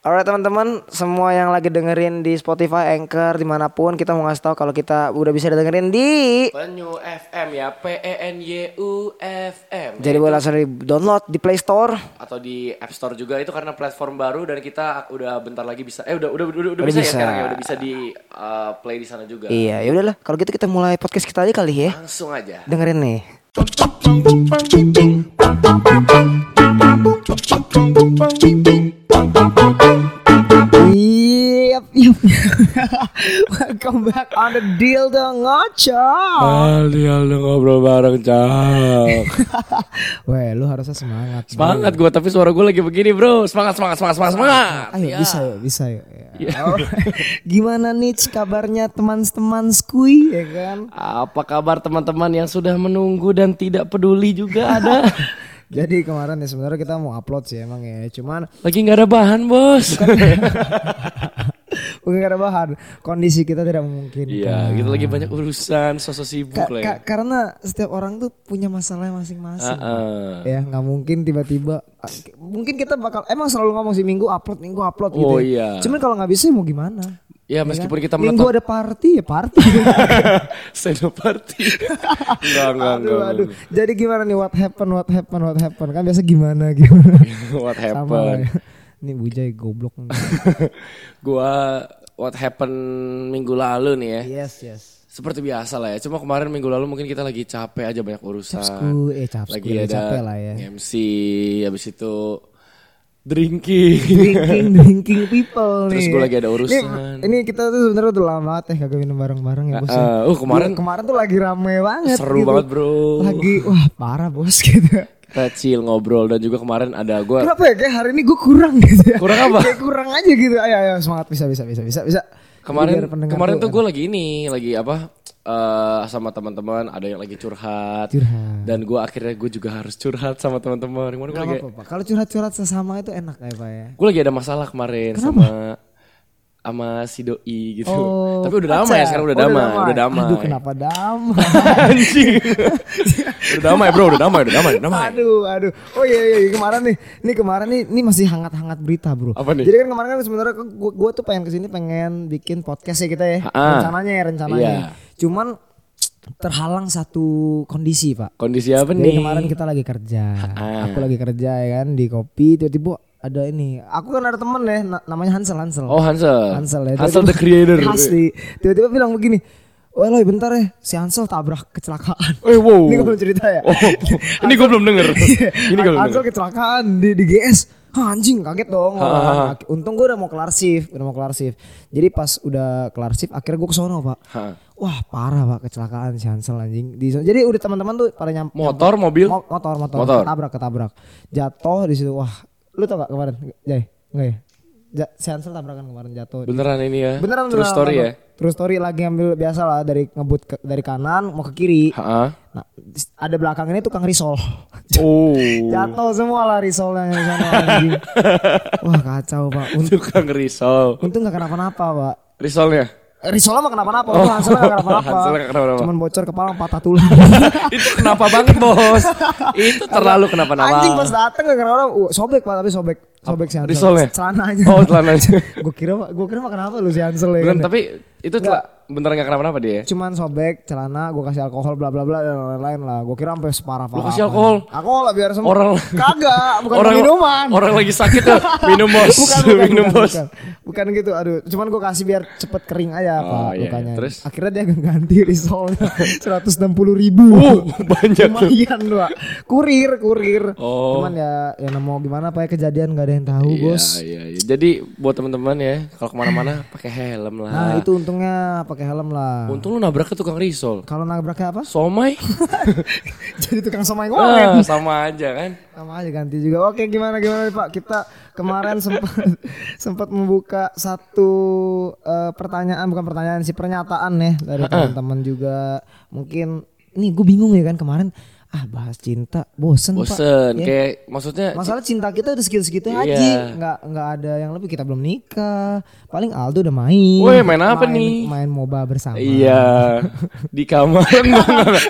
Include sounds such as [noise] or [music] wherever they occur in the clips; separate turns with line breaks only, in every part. Alright teman-teman, semua yang lagi dengerin di Spotify, Anchor, dimanapun kita mau ngasih tahu kalau kita udah bisa dengerin di.
Penyu FM ya P E N Y U F M.
Jadi boleh langsung di download di Play Store.
atau di App Store juga itu karena platform baru dan kita udah bentar lagi bisa eh udah udah udah, udah
Udah
bisa, ya
bisa.
sekarang ya udah bisa di uh, play di sana juga.
Iya, ya udahlah. Kalau gitu kita mulai podcast kita aja kali ya.
Langsung aja.
Dengerin nih. Yep, yep. [laughs] Welcome back on the deal dong ngocok.
Kalian ngobrol bareng cak.
[laughs] Weh, lu harusnya semangat. bro.
[laughs] semangat gue tapi suara gue lagi begini bro. Semangat semangat semangat semangat semangat.
Ayo bisa yuk, bisa yuk. Ya. [laughs] Alright. Gimana nih kabarnya teman-teman skui ya kan?
Apa kabar teman-teman yang sudah menunggu dan tidak peduli juga [laughs] ada?
Jadi kemarin ya sebenarnya kita mau upload sih emang ya, cuman [laughs]
lagi nggak ada bahan bos.
mungkin karena bahan kondisi kita tidak memungkinkan.
Iya, kita lagi banyak urusan, sosok sibuk
Ka-
lah. ya.
ka- karena setiap orang tuh punya masalahnya masing-masing. Ya
Heeh.
nggak mungkin tiba-tiba. Mungkin kita bakal emang selalu ngomong sih minggu upload, minggu upload gitu.
Oh,
ya.
iya.
Cuman kalau nggak bisa ya mau gimana?
Ya meskipun
[laughs]
kita
Minggu
menonton
ada party ya party.
[laughs] stand up party. enggak, enggak,
aduh,
enggak.
aduh. Jadi gimana nih what happened, what happened, what happened? Kan biasa gimana gimana?
[laughs] What
Sama lah
happened?
ya. Ini bujai goblok. nih.
gua what happened minggu lalu nih ya.
yes, yes.
Seperti biasa lah ya. Cuma kemarin minggu lalu mungkin kita lagi capek aja banyak urusan.
Ku eh capsku,
Ah, Lagi
udah
ada
capek lah ya.
MC habis itu drinking.
Drinking, drinking people
Terus
nih.
gua lagi ada urusan.
Ini, ini kita tuh sebenarnya udah lama banget ya kagak minum bareng-bareng ya bos. ya.
Eh, uh, kemarin
Gua- kemarin tuh lagi rame banget.
seru
gitu.
banget, Bro.
Lagi wah parah bos [laughs] gitu.
Kita chill ngobrol dan juga kemarin ada gua
Kenapa ya kayak hari ini gue kurang gitu ya.
Kurang apa?
Kayak kurang aja gitu. Ayo ayo semangat bisa bisa bisa bisa bisa.
kemarin
Biar pendengar kan.
kemarin tuh gue lagi ini lagi apa eh sama teman-teman ada yang lagi curhat,
Curhat.
dan gue akhirnya gue juga harus curhat sama teman-teman kemarin gue
Gak
lagi
apa-apa. Pak. Kalau curhat-curhat sesama itu enak ya Pak ya.
gue lagi ada masalah kemarin sama sama si doi gitu
Oh,
tapi udah damai ya
pacar.
sekarang udah
Oh,
damai udah damai
Aduh kenapa damai?
Anjing. udah damai bro udah damai udah damai udah damai
Aduh, aduh. Oh iya iya iya. kemarin nih, nih kemarin nih, ini masih hangat-hangat berita bro.
Apa nih?
Jadi kan kemarin kan sebenarnya ke- gua, gua tuh pengen kesini pengen bikin podcast ya kita ya.
Ha-ha.
Rencananya ya rencananya.
Ah. Iya.
Cuman terhalang satu kondisi pak.
kondisi apa
Jadi
nih Ah.
kemarin kita lagi kerja, aku lagi kerja ya kan di kopi tiba-tiba ada ini. Aku kan ada temen ya, na- namanya Hansel Hansel.
oh Hansel
Hansel ya.
Hansel
Tiba-tiba-
the creator
Asli. Tiba-tiba bilang begini, Wah loh bentar ya, si Hansel tabrak kecelakaan.
Eh, wow.
[laughs] Ini gue belum cerita ya.
Oh, ini gue belum
[laughs]
denger [laughs] ini gue belum
Hansel
denger
kecelakaan di, di GS. Hah, anjing kaget dong. Nah, Untung gue udah mau kelar shift, udah mau kelar shift. Jadi pas udah kelar shift akhirnya gue ke sono, Pak.
Ha.
Wah, parah, Pak, kecelakaan si Hansel anjing. Di sono- Jadi udah teman-teman tuh pada nyampe
motor mobil
motor, motor,
Motor.
ketabrak, ketabrak. Jatuh di situ. Wah, lu tau gak kemarin? Jay, enggak ya? Ja- si Hansel tabrakan kemarin jatuh.
beneran ini ya
Beneran
true
beneran,
story ya
beneran. True story lagi ambil biasa lah dari ngebut ke- dari kanan mau ke kiri.
Ha-ha.
Nah, dis- ada belakang ini tukang risol.
oh [laughs]
Jatuh semua lah risolnya di sana anjing. Wah kacau pak. Untung,
tukang risol
untung gak kenapa-napa pak.
risolnya
Risolnya mah kenapa-napa, untung Hanselnya gak kenapa-napa.
Hanselnya Oh. nggak kenapa-napa.
Cuman bocor kepala patah
[laughs]
tulang.
itu kenapa banget bos itu terlalu kenapa-napa
Anjing pas dateng gak kenapa sobek pak tapi sobek sobek si Hansel.
Risolnya?
Celananya.
oh
[laughs]
celananya
gue kira gue kira mah kenapa lu si Hansel ya.
Beneran,
kan.
tapi itu telah beneran gak kenapa-napa dia.
Cuman sobek celana gue kasih alkohol bla bla bla dan lain-lain lah. Gue kira sampai separah parah.
kasih alkohol?
Alkohol lah biar semua.
Orang-
kagak bukan minuman.
Orang lagi sakit ya, minum bos,
bukan, bukan,
[laughs] minum
bukan,
bos.
bukan. Bukan gitu, aduh. Cuman gue kasih biar cepet kering aja
Oh,
pak
iya,
lukanya.
iya. Terus?
Akhirnya dia ganti risolnya 160
[laughs]
ribu.
Uh, banyak tuh.
Lumayan pak. Kurir, kurir.
Oh.
Cuman ya, ya nggak mau gimana pak ya kejadian gak ada yang tahu bos.
Iya, iya, iya. Jadi buat teman-teman ya, kalau kemana-mana pakai helm lah.
Nah itu untungnya pakai helm lah.
Untung lu nabrak ke tukang risol.
Kalau nabraknya apa? [laughs]
Somai,
Jadi tukang somai ngomen.
ah, sama aja kan.
Sama aja ganti juga. Oke, gimana gimana nih, Pak? Kita kemarin [laughs] sempat sempat membuka satu eh, pertanyaan bukan pertanyaan sih pernyataan ya dari teman-teman juga. Mungkin nih gue bingung ya kan kemarin ah bahas cinta bosen, Pak.
Bosen, kayak maksudnya
Masalah cinta kita udah segitu-segitu
Iya.
aja. Nggak nggak ada yang lebih kita belum nikah. Paling Aldo udah main.
Weh, main apa nih?
Main MOBA bersama.
[laughs] Iya, di kamar enggak, enggak, enggak.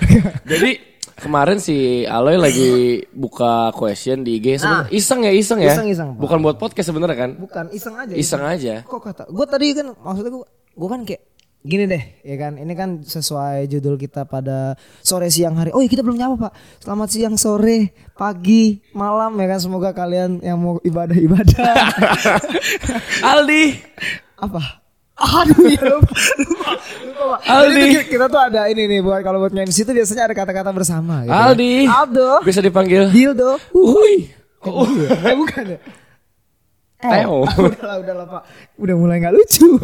Jadi Kemarin si Aloy lagi buka question di IG sebenarnya iseng ya iseng ya.
Iseng-iseng, Pak.
Bukan buat podcast sebenarnya kan.
Bukan iseng aja.
Iseng [laughs] aja.
Kok kata? Gue tadi kan maksudnya gue gue kan kayak gini deh ya kan ini kan sesuai judul kita pada sore siang hari oh iya, kita belum nyapa pak selamat siang sore pagi malam ya kan semoga kalian yang mau ibadah [laughs] ibadah
Aldi.
apa aduh ya lupa lupa, lupa pak Jadi
Aldi.
tuh kita tuh ada ini nih buat kalau buat MC itu biasanya ada kata-kata bersama gitu
Aldi.
Aldo
Bisa dipanggil.
Dildo
Uhuy.
Oh, eh, bukan ya? [laughs]
Teo.
Ah, udahlah, udahlah Pak. Udah mulai nggak lucu. [laughs]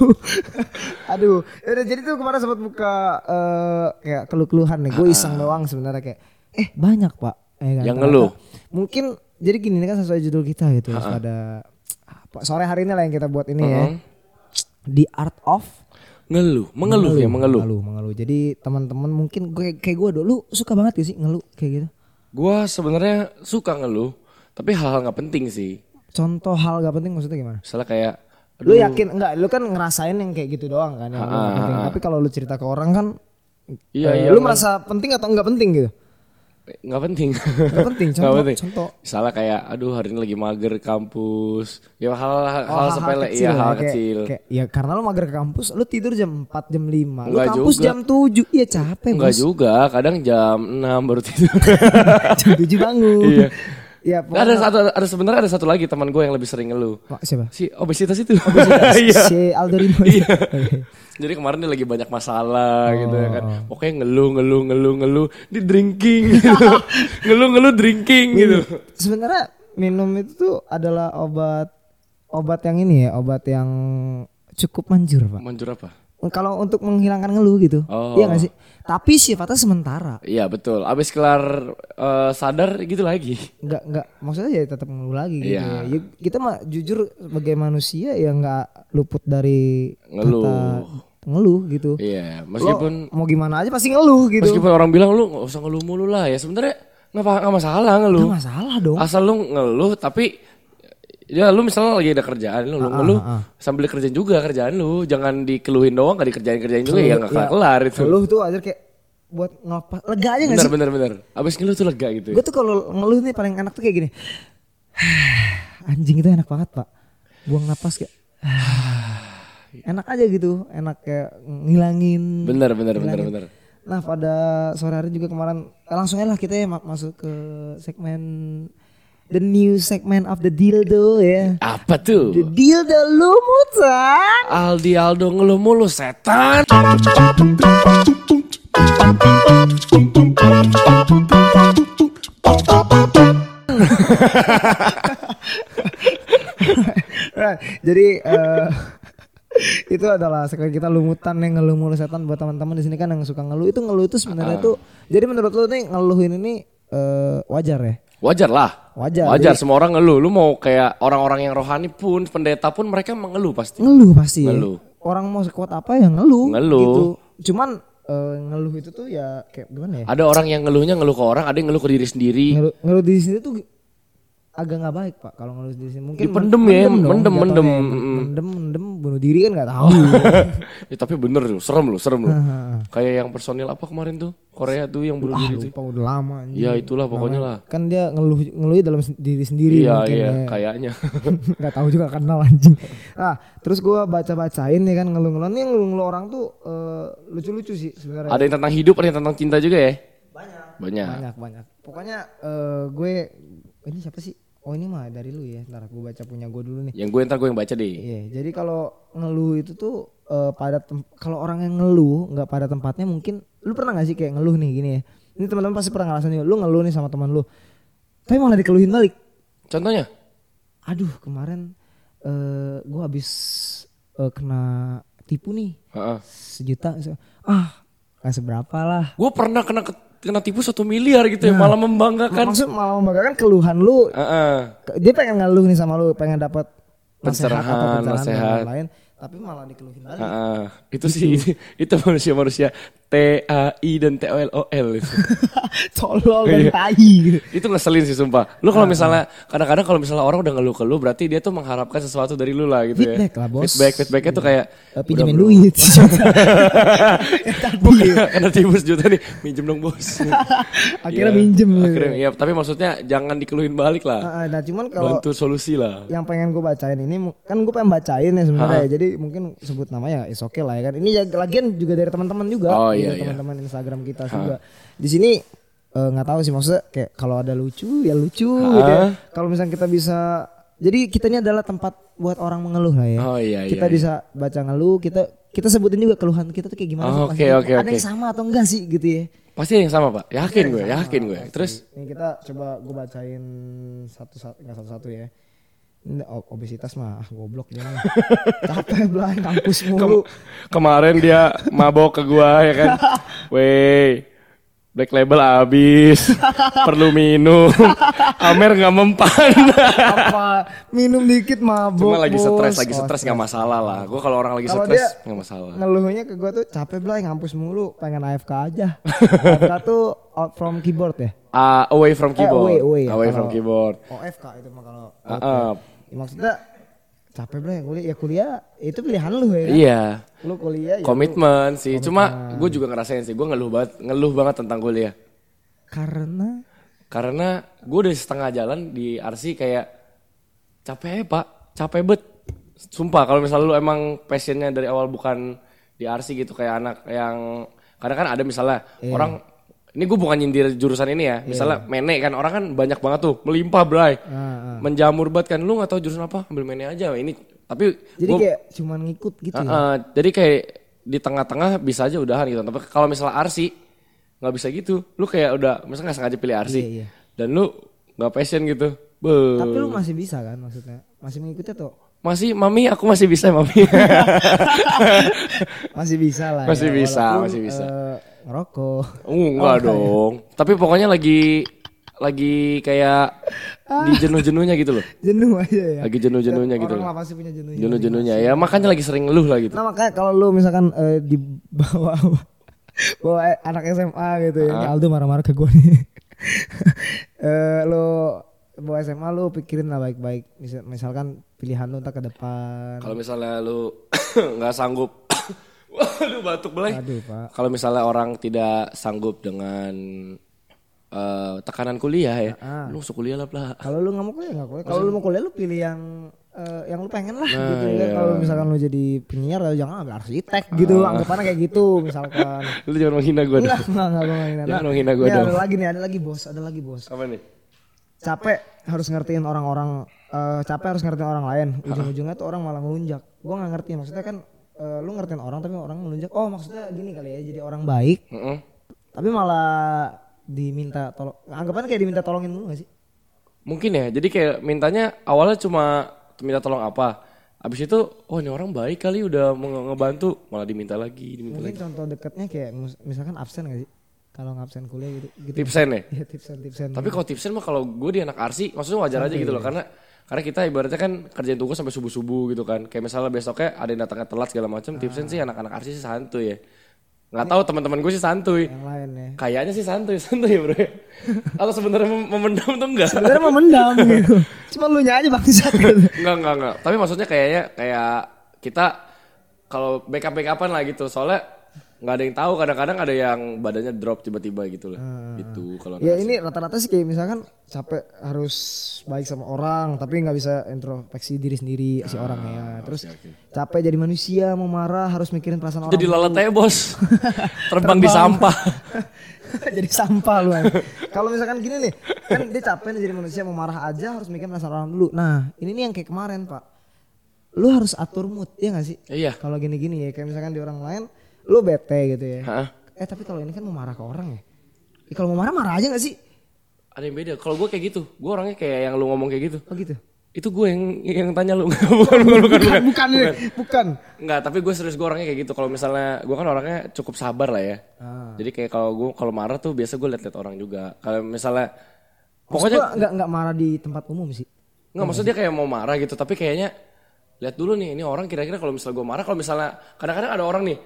Aduh, Ya udah jadi tuh kemarin sempat buka eh kayak keluh-keluhan nih. Gue iseng doang sebenarnya kayak eh banyak, Pak. Eh, kan,
Ah. Yang
ternyata
ngeluh.
Mungkin jadi gini ini kan sesuai judul kita gitu ya, pada apa, sore hari ini lah yang kita buat ini ya. The Art of
Ngeluh, mengeluh ya, mengeluh.
mengeluh, mengeluh. Jadi teman-teman mungkin gue kayak gue dulu suka banget gak sih ngeluh kayak gitu.
Gua sebenarnya suka ngeluh, tapi hal-hal nggak penting sih.
Contoh hal gak penting maksudnya gimana?
Misalnya kayak
lu yakin enggak lu kan ngerasain yang kayak gitu doang kan yang lu nggak penting. tapi kalau lu cerita ke orang kan
Iya,
eh,
iya,
lu merasa penting atau enggak penting gitu
nggak penting.
Nggak
[laughs]
penting,
Nggak
contoh-
penting.
contoh.
Misalnya kayak aduh hari ini lagi mager kampus. Ya hal-hal hal,
Oh, hal-hal
sepele, iya
ya,
hal
kayak-
kecil.
kayak- ya karena lu mager ke kampus lu tidur jam 4 jam 5 lu
Nggak
kampus
juga.
jam 7 iya capek
Enggak
bos
juga, kadang jam 6 baru tidur.
[laughs] jam 7 bangun
Iya.
ya
Nah, [laughs] ada satu ada sebenarnya ada satu lagi teman gue yang lebih sering ngeluh.
Pak, siapa
Si obesitas itu. [laughs] Iya.
si Aldorino
Iya. [laughs] Jadi kemarin dia lagi banyak masalah gitu ya kan.
Oh.
Pokoknya ngeluh ngeluh ngeluh ngeluh di drinking
[laughs]
gitu. ngeluh ngeluh drinking
Iya.
gitu.
[laughs] sebenarnya minum itu tuh adalah obat obat yang ini ya obat yang cukup manjur pak
Manjur apa?
kalau untuk menghilangkan ngeluh gitu.
Oh.
Iya gak sih? Tapi sifatnya sementara.
Iya betul. Abis kelar eh, sadar gitu lagi.
Enggak enggak maksudnya ya tetap ngeluh lagi gitu.
Iya.
Ya, kita mah jujur sebagai manusia ya nggak luput dari
Ngeluh. Oh.
kata ngeluh gitu.
Iya.
Lo
Meskipun
mau gimana aja pasti ngeluh gitu.
meskipun orang bilang lu nggak usah ngeluh mulu lah ya. Sebenarnya nggak apa- nggak masalah ngeluh.
Nggak masalah dong.
Asal lu ngeluh tapi ya lu misalnya lagi ada kerjaan
Ah,
lu lu ngeluh sambil kerjaan juga kerjaan lu jangan dikeluhin doang gak dikerjain kerjain juga
Iya,
ya nggak kelar kelar itu
Ngeluh tuh aja kayak buat ngelepas lega aja gak
bener
sih?
bener bener abis ngeluh tuh lega gitu ya.
Gue tuh kalau ngeluh nih paling enak tuh kayak gini. [sighs] Anjing itu enak banget, Pak. Buang napas kayak [sighs] enak aja gitu, enak kayak ngilangin
bener bener bener bener
Nah pada sore hari juga kemarin eh, langsung aja lah kita ya ma- masuk ke segmen the new segment of the dildo ya.
apa tuh
The dildo [laughs] lumutan.
Aldi Aldo ngeluh mulu setan
Right, Jadi eh, itu adalah sekali kita lumutan yang ngeluh mulu setan buat teman-teman di sini kan yang suka ngeluh itu ngeluh itu sebenarnya tuh. Jadi menurut lu nih ngeluhin ini eh, wajar ya?
wajar lah
Wajar. iya.
wajar semua orang ngeluh lu mau kayak orang-orang yang rohani pun pendeta pun mereka mengeluh pasti
Ngeluh pasti. ya.
Ngeluh.
Orang mau sekuat apa ya ngeluh.
Ngeluh.
Gitu. Cuman eh, ngeluh itu tuh ya kayak gimana ya?
ada orang yang ngeluhnya ngeluh ke orang ada yang ngeluh ke diri sendiri
Ngeluh, ngeluh di sini tuh agak nggak baik pak kalau ngeluh di sini mungkin
Dipendem
men-
ya,
dong
mendem,
jatuhnya.
mendem.
mendem mendem bunuh diri kan nggak
Iya.
tahu
ya, tapi bener loh serem loh serem loh kayak yang personil apa kemarin tuh Korea tuh yang bunuh
Hmm. ah
diri
[laughs]
tuh
lupa udah lama anjing.
ya itulah pokoknya lah
kan dia ngeluh ngeluh dalam se- diri sendiri
Iya
mungkin
iya
ya.
kayaknya.
[laughs] nggak tahu juga kenal anjing nah terus gua baca bacain ya kan ngeluh ngeluh nih ngeluh ngeluh orang tuh lucu lucu sih sebenarnya
ada yang tentang hidup, ada yang tentang cinta juga ya? Banyak. Banyak.
banyak banyak pokoknya eh, gue ini siapa sih oh ini mah dari lu ya ntar gue baca punya gue dulu nih
Yang gue ntar gue yang baca deh.
Iya, jadi kalau ngeluh itu tuh eh, pada tem- kalau orang yang ngeluh nggak pada tempatnya mungkin lu pernah gak sih kayak ngeluh nih gini ya. Ini teman-teman pasti pernah ngerasain juga. lu ngeluh nih sama teman lu. Tapi malah dikeluhin balik.
Contohnya?
Aduh, kemarin eh gua habis eh, kena tipu nih
Heeh.
sejuta. Se- Ah, nggak seberapa lah.
Gue pernah kena kena tipu satu miliar gitu ya,
Nah.
malah membanggakan.
Maksud malah membanggakan keluhan lu
Heeh.
Ke- dia pengen ngeluh nih sama lu pengen dapat nasihat atau
Pencerahan,
pencerahan dan
nasihat.
lain-lain tapi malah dikeluhin balik.
Ah, itu
[laughs]
sih itu manusia-manusia T A I dan T O L O L itu.
[laughs] Tolol dan tai gitu.
itu ngeselin sih sumpah. Lu
Ah.
kalau misalnya kadang-kadang kalau misalnya orang udah ngeluh ke lu berarti dia tuh mengharapkan sesuatu dari lu lah gitu ya.
Feedback lah, bos.
Feedback feedbacknya tuh kayak
Eh, pinjemin
[laughs]
duit sih.
Bukan [laughs] karena tibus juta nih, minjem dong bos.
[laughs] Akhirnya minjem gitu.
Akhirnya iya, tapi maksudnya jangan dikeluhin balik lah.
Ah, ah, nah cuman kalau
Bantu solusi lah.
yang pengen gue bacain ini mu- kan gue pengen bacain ya sebenarnya ya. jadi mungkin sebut namanya is okay lah ya kan ini ya, lagian juga dari teman-teman juga
Oh,
dari
iya, iya.
teman-teman Instagram kita juga di sini eh, nggak tahu sih maksudnya kayak kalau ada lucu ya lucu gitu ya. kalau misalnya kita bisa jadi kita ini adalah tempat buat orang mengeluh lah ya
Oh iya
kita
iya.
bisa baca ngeluh kita kita sebutin juga keluhan kita tuh kayak gimana sih
Oh,
pas
oke,
kita-
oke,
ada
oke.
yang sama atau enggak sih gitu ya
Pasti ada yang sama, Pak.
Iya,
Yakin gue, yakin gue. Terus
ini kita coba gue bacain satu-satu nggak satu-satu ya. Ini o- obesitas mah ah, goblok dia
[laughs]
mah. Capek belah kampus mulu.
Kemarin dia mabok ke gua ya kan. Wey, Black Label
[laughs]
abis, perlu minum. Amer nggak mempan.
Apa minum dikit mabok.
Cuma lagi
bos.
stres, lagi
Oh,
stres nggak masalah lah. Gua kalau orang lagi
Kalau
stres
dia-
nggak masalah.
Nah, Ngeluhnya ke gue tuh capek belah kampus mulu, pengen AFK
[laughs]
aja. AFK tuh out from keyboard ya.
Ah, away from
Eh,
keyboard.
away, away. Kalau-
from keyboard.
OFK itu mah kalau
Ah, ah,
ya, maksudnya capek belah kuliah ya kuliah itu pilihan lu ya. kan?
iya.
Lu kuliah ya
Komitmen sih. Cuma gue juga ngerasain sih. Gue ngeluh banget, ngeluh banget tentang kuliah.
karena
Karena gue udah setengah jalan di RC kayak capek ya pak, capek bet. Sumpah kalau misalnya lu emang passionnya dari awal bukan di RC gitu kayak anak yang kadang kan ada misalnya
Iya.
orang ini gue bukan nyindir jurusan ini ya. Misalnya mene kan orang kan banyak banget tuh melimpah bray.
Ah,
Menjamur banget kan lu nggak tahu jurusan apa ambil mene aja ini tapi
jadi
gua- Ah,
kayak cuman ngikut gitu ya.
Heeh, jadi kayak di tengah-tengah bisa aja udahan gitu. Tapi kalau misalnya Arsi nggak bisa gitu. Lu kayak udah misalnya nggak sengaja pilih Arsi
Iya, iya.
dan lu nggak passion gitu. Be
Tapi lu masih bisa kan maksudnya? Masih mengikuti atau
masih mami aku masih bisa mami. [laughs]
masih bisa lah. ya,
Masih bisa,
walaupun,
masih bisa.
eh, ngerokok. [laughs]
Uh, enggak
iya.
dong. Tapi pokoknya lagi lagi kayak di jenuh-jenuhnya gitu loh.
Jenuh aja Ah. [laughs] ya.
Lagi jenuh-jenuhnya gitu
Orang
loh.
lah pasti punya jenuh.
Jenuh-jenuhnya ya makanya lagi sering ngeluh lah gitu.
Nah makanya kalau lu misalkan eh, di bawah [laughs] bawa anak SMA gitu ya.
Ah.
Ini Aldo marah-marah ke gue nih. [laughs] Eh lu bawa SMA lu pikirin lah baik-baik. Misal- misalkan pilihan lu entah ke depan.
Kalau misalnya lu [coughs] nggak sanggup [coughs] Waduh batuk belai.
Aduh pak.
Kalau misalnya orang tidak sanggup dengan eh, tekanan kuliah ya, lu usah kuliah lah Pla.
Kalau lu nggak mau kuliah nggak kuliah. Kalau lu mau kuliah lu pilih yang eh, yang lu pengen lah
Nah,
gitu
iya.
ya. Kalau misalkan lu jadi penyiar ya jangan ambil arsitek gitu.
Ah.
Anggapannya kayak gitu
[laughs]
misalkan.
Lu jangan menghina gue dong.
Enggak, enggak, enggak, enggak, enggak.
Jangan menghina gua
Ini
dong.
Ada lagi nih, ada lagi bos, ada lagi bos.
Apa nih?
Capek harus ngertiin orang-orang, eh, capek harus ngertiin orang lain. Ujung-ujungnya tuh orang malah ngelunjak. Gua nggak ngerti maksudnya kan eh, lu ngertiin orang tapi orang ngelunjak. Oh maksudnya gini kali ya, jadi orang baik
Mm-mm.
tapi malah diminta tolong. Anggapannya kayak diminta tolongin mulu gak sih?
Mungkin ya. Jadi kayak mintanya awalnya cuma minta tolong apa. Abis itu, oh ini orang baik kali udah mau nge- ngebantu, malah diminta lagi, diminta Gitu lagi.
Mungkin contoh dekatnya kayak mus- misalkan absen gak sih? Kalau ngabsen kuliah gitu. gitu.
Tipsen ya.
Ya tipsen tipsen.
Tapi kalau tipsen mah kalau gue di anak arsi, maksudnya wajar aja gitu loh karena karena kita ibaratnya kan kerjain tugas sampai subuh subuh gitu kan. Kayak misalnya besoknya ada yang datangnya telat segala macam, tipsen sih anak-anak arsi sih santuy ya. Nggak tahu teman-teman gue sih santuy.
yang lain ya.
Kayaknya sih santuy, [laughs] santuy bro. Atau sebenarnya mem- memendam tuh enggak?
Sebenarnya mau [laughs] mendam gitu. Cuma lu nya aja bangsat. gitu.
Enggak, enggak, enggak. Tapi maksudnya kayaknya kayak kita kalau backup backupan lah gitu. Soalnya nggak ada yang tahu kadang-kadang ada yang badannya drop tiba-tiba gitu lah. Gitu kalau
ya ini rata-rata sih kayak misalkan capek harus baik sama orang tapi nggak bisa introspeksi diri sendiri si orang ya.
Ah,
Terus capek jadi manusia mau marah harus mikirin perasaan orang.
jadi lalat aja bos. Terbang di sampah.
[laughs] jadi sampah lu. anjing. Kalau misalkan gini nih, kan dia capek nih jadi manusia mau marah aja harus mikirin perasaan orang dulu. Nah, ini nih yang kayak kemarin, Pak. Lu harus atur mood, ya gak sih?
Iya.
Kalau gini-gini ya, kayak misalkan di orang lain lu bete gitu ya.
Hah?
Eh, tapi kalau ini kan mau marah ke orang ya. Eh, kalau mau marah marah aja gak sih?
Ada yang beda. Kalau gue kayak gitu, gue orangnya kayak yang lu ngomong kayak gitu.
Oh gitu.
Itu gue yang yang tanya lu. [laughs] bukan, bukan, bukan, [coughs] bukan.
bukan, bukan. bukan.
Enggak, tapi gue serius gue orangnya kayak gitu. Kalau misalnya gue kan orangnya cukup sabar lah ya.
Ah.
Jadi kayak kalau gue kalau marah tuh biasa gue liat-liat orang juga. Kalau misalnya pokoknya
Pokoknya nggak nggak marah di tempat umum sih.
Nggak maksudnya dia kayak mau marah gitu tapi kayaknya lihat dulu nih ini orang kira-kira kalau misalnya gue marah kalau misalnya kadang-kadang ada orang nih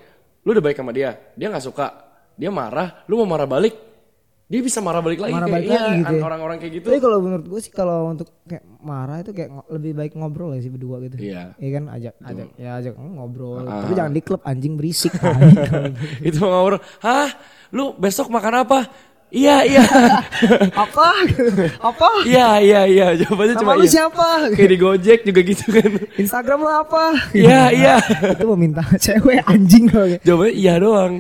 lu udah baik sama dia dia nggak suka dia marah lu mau marah balik dia bisa marah balik lagi
Marah
kayak
balik
iya,
lagi gitu ya.
orang-orang kayak gitu
Tapi kalau menurut gue sih kalau untuk kayak marah itu kayak ngo- lebih baik ngobrol ya sih berdua gitu.
Iya.
Iya kan ajak ajak ya ajak ngobrol.
Ah.
Tapi jangan di klub anjing
[laughs]
berisik. Tai.
itu mau ngobrol hah lu besok makan apa iya iya [laughs]
Apa? Apa?
iya iya iya jawabannya
Nama
cuma
lu
iya
siapa? Iya.
kayak di Gojek juga gitu
[laughs]
kan
Instagram lu apa?
iya iya
itu meminta [laughs] cewek anjing kalau kayak.
jawabannya iya doang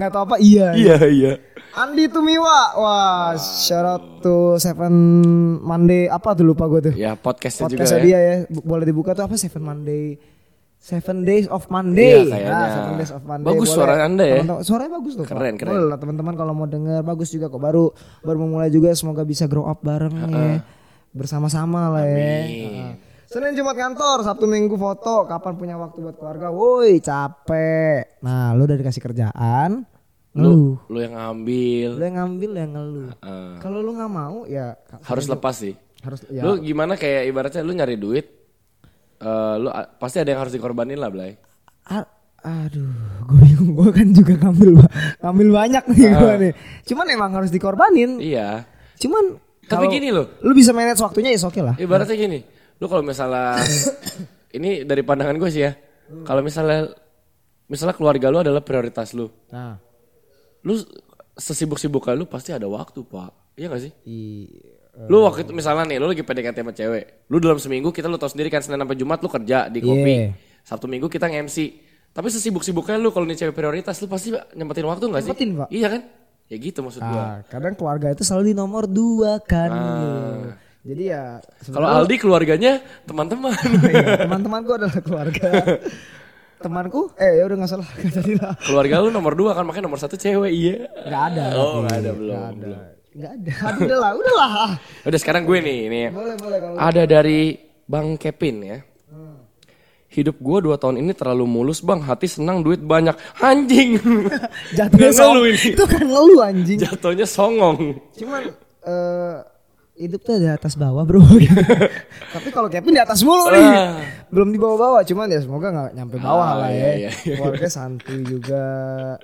Nggak tahu apa iya.
iya iya
Andi Tumiwa. Wah, shout out to Seven Monday apa tuh lupa gue tuh.
ya podcastnya
Podcastnya
juga
dia
ya
ya. Bu- Boleh dibuka tuh apa Seven Monday. Seven Days of Monday.
Iya, kayaknya.
Nah, Seven Days of Monday.
Bagus
Boleh.
suara Anda ya.
Teman-teman- suaranya bagus loh. Pak.
Keren, keren.
Boleh lah teman-teman kalau mau denger bagus juga kok. Baru baru memulai juga semoga bisa grow up bareng ya. Bersama-sama lah ya. Heeh. Senin Jumat kantor, Sabtu Minggu foto, kapan punya waktu buat keluarga? Woi, capek. Nah, lu udah dikasih kerjaan, lu,
lu yang ngambil
lu yang ngambil lu yang ngeluh.
Heeh.
Kalau lu nggak mau ya
harus lepas sih
harus ya
Lu gimana kayak ibaratnya lu nyari duit eh lu a- pasti ada yang harus dikorbanin lah, Blay.
A- aduh gue bingung gue kan juga ngambil ba- ngambil banyak nih
Ah.
gue nih cuman emang harus dikorbanin
Iya.
cuman
Tapi
kalau
gini loh,
lu bisa manage waktunya ya oke lah
ibaratnya gini. Lu kalau
[coughs]
misalnya ini dari pandangan gue sih ya. Kalau misalnya misalnya keluarga lu adalah prioritas lu.
nah
Lu sesibuk-sibuknya lu pasti ada waktu, Pak. Iya gak sih?
i Eh.
Lu waktu itu misalnya nih, lu lagi PDKT sama cewek. Lu dalam seminggu kita lu tahu sendiri kan Senin sampai Jumat lu kerja di kopi.
Iya.
Sabtu Minggu kita nge-MC. Tapi sesibuk-sibuknya lu kalau nih cewek prioritas lu pasti nyempetin waktu gak sih?
Nyempetin, Pak.
Iya kan? Ya gitu maksud gua.
nah, kadang keluarga itu selalu di nomor dua kan jadi ya
Nah.
[laughs]
Kalau Aldi keluarganya teman-teman. [laughs]
sebenarnya teman-temanku adalah keluarga temanku eh ya udah nggak salah nggak jadi lah
Keluarga lu nomor dua kan makanya nomor satu cewek iya.
nggak ada
Oh
tapi.
nggak ada belum. belum.
nggak ada Aduh, udah lah udah lah
Udah sekarang gue nih ini ya.
boleh boleh kalau
Ada dari Bang Kevin ya. Hidup gue dua tahun ini terlalu mulus bang, hati senang duit banyak, anjing.
jatuhnya
Nggak
song-
ngeluh ini.
itu kan ngeluh anjing
Jatuhnya songong.
Cuman eh hidup tuh ada atas bawah bro. [laughs] Tapi kalau Kevin di atas mulu nih.
Ah.
Belum di bawah-bawah. Cuman ya semoga nggak nyampe bawah
Ah,
lah
iya,
ya.
iya,
Keluarga santuy juga,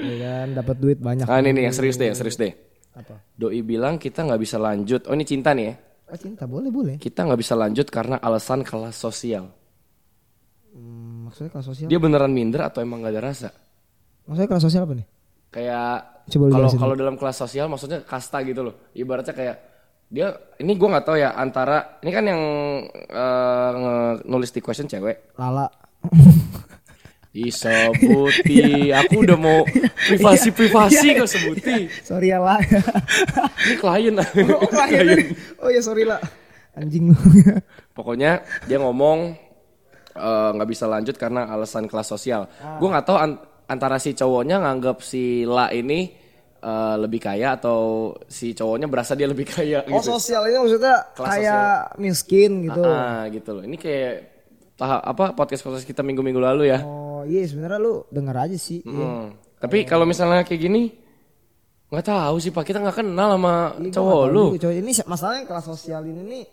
ya kan. Dapat duit banyak.
Nah ini nih yang serius deh, yang serius deh.
Apa?
Doi bilang kita nggak bisa lanjut. Oh ini cinta nih ya.
Oh, cinta boleh boleh.
Kita nggak bisa lanjut karena alasan kelas sosial.
Hmm, maksudnya kelas sosial.
Dia beneran minder atau emang nggak ada rasa?
Maksudnya kelas sosial apa nih?
Kayak
Coba lu
kalau
jelasin.
kalau dalam kelas sosial maksudnya kasta gitu loh. Ibaratnya kayak dia ini gua nggak tahu ya antara ini kan yang eh, nge- nulis di question cewek
Lala. [laughs]
disebuti
Iya.
aku udah mau privasi privasi kok sebuti
sorry ya lah.
ini klien
oh, klien. oh ya sorry lah. Anjing lu.
[laughs] Pokoknya dia ngomong eh, nggak bisa lanjut karena alasan kelas sosial.
Ah.
Gue nggak tahu an- antara si cowoknya nganggap si La ini eh, lebih kaya atau si cowoknya berasa dia lebih kaya
oh
gitu.
sosial ini maksudnya
Kelas
kayak miskin gitu.
Ah gitu loh. Ini kayak tahap apa podcast podcast kita minggu minggu lalu ya.
Oh iya sebenarnya lu denger aja sih.
Hmm. Tapi kalau misalnya kayak gini nggak tahu sih pak kita nggak kenal sama
Ini gua nggak
cowok
tahu
Oh, lu.
juga, gitu, coy. ini si- masalahnya kelas sosial ini nih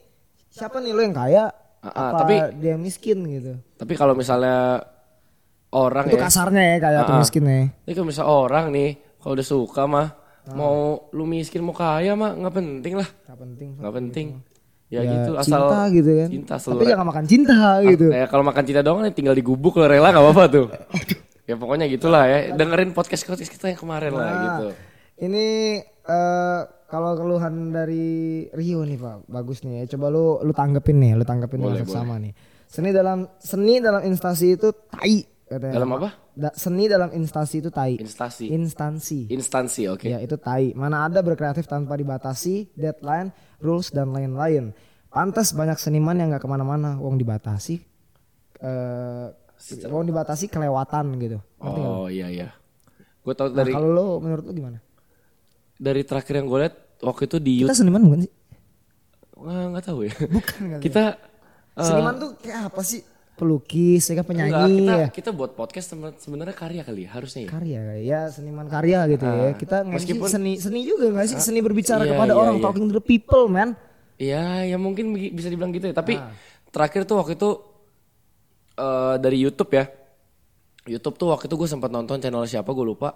siapa nih lo yang kaya
Ah, ah,
apa
tapi-
dia yang miskin gitu
Tapi kalau misalnya orang
itu
ya.
kasarnya ya kaya atau
Ah, ah.
miskinnya
Ini kalau misal orang nih kalau udah suka mah
Ah.
mau lu miskin mau kaya mah nggak penting lah,
nggak penting
nggak penting. Ya, gitu asal
cinta gitu kan
Cinta
tapi
seluruh.
jangan makan cinta gitu
Ya kalau makan cinta doang nih tinggal digubuk lo rela nggak apa-apa
[laughs]
tuh. ya pokoknya gitulah ya. Dengerin podcast podcast kita yang kemarin lah
Nah,
gitu.
ini eh, kalau keluhan dari Rio nih pak bagus nih ya coba lu lu tanggepin nih lu tanggepin dengan sama nih seni dalam seni dalam instansi itu tai katanya
Dalam apa?
Da- seni dalam instansi itu tai
Instansi.
instansi
Instansi oke.
Ya itu tai. Mana ada berkreatif tanpa dibatasi, deadline, rules dan lain-lain. Pantas banyak seniman yang nggak kemana-mana, wong dibatasi, eh wong dibatasi kelewatan gitu.
Oh iya iya. Gue tau
Nah,
dari
kalau lo menurut lo gimana?
dari terakhir yang gue liat waktu itu di
Kita seniman bukan sih?
Wah, nggak tahu ya.
kali ya.
kita eh,
Seniman tuh kayak apa sih? Pelukis, ya kan
enggak,
penyanyi,
kita
ya.
kita buat podcast semen- sebenarnya karya kali ya, harusnya ya.
karya, kali. ya seniman karya gitu ya. Kita ngasih
Eh, meskipun-
seni, seni juga nggak sih? Seni berbicara
iya,
kepada
iya,
orang,
iya.
talking to the people, man.
Ah. Ya, ya mungkin begi- bisa dibilang gitu ya. Tapi terakhir tuh waktu itu eh, dari YouTube ya. YouTube tuh waktu itu gue sempat nonton channel siapa gue lupa.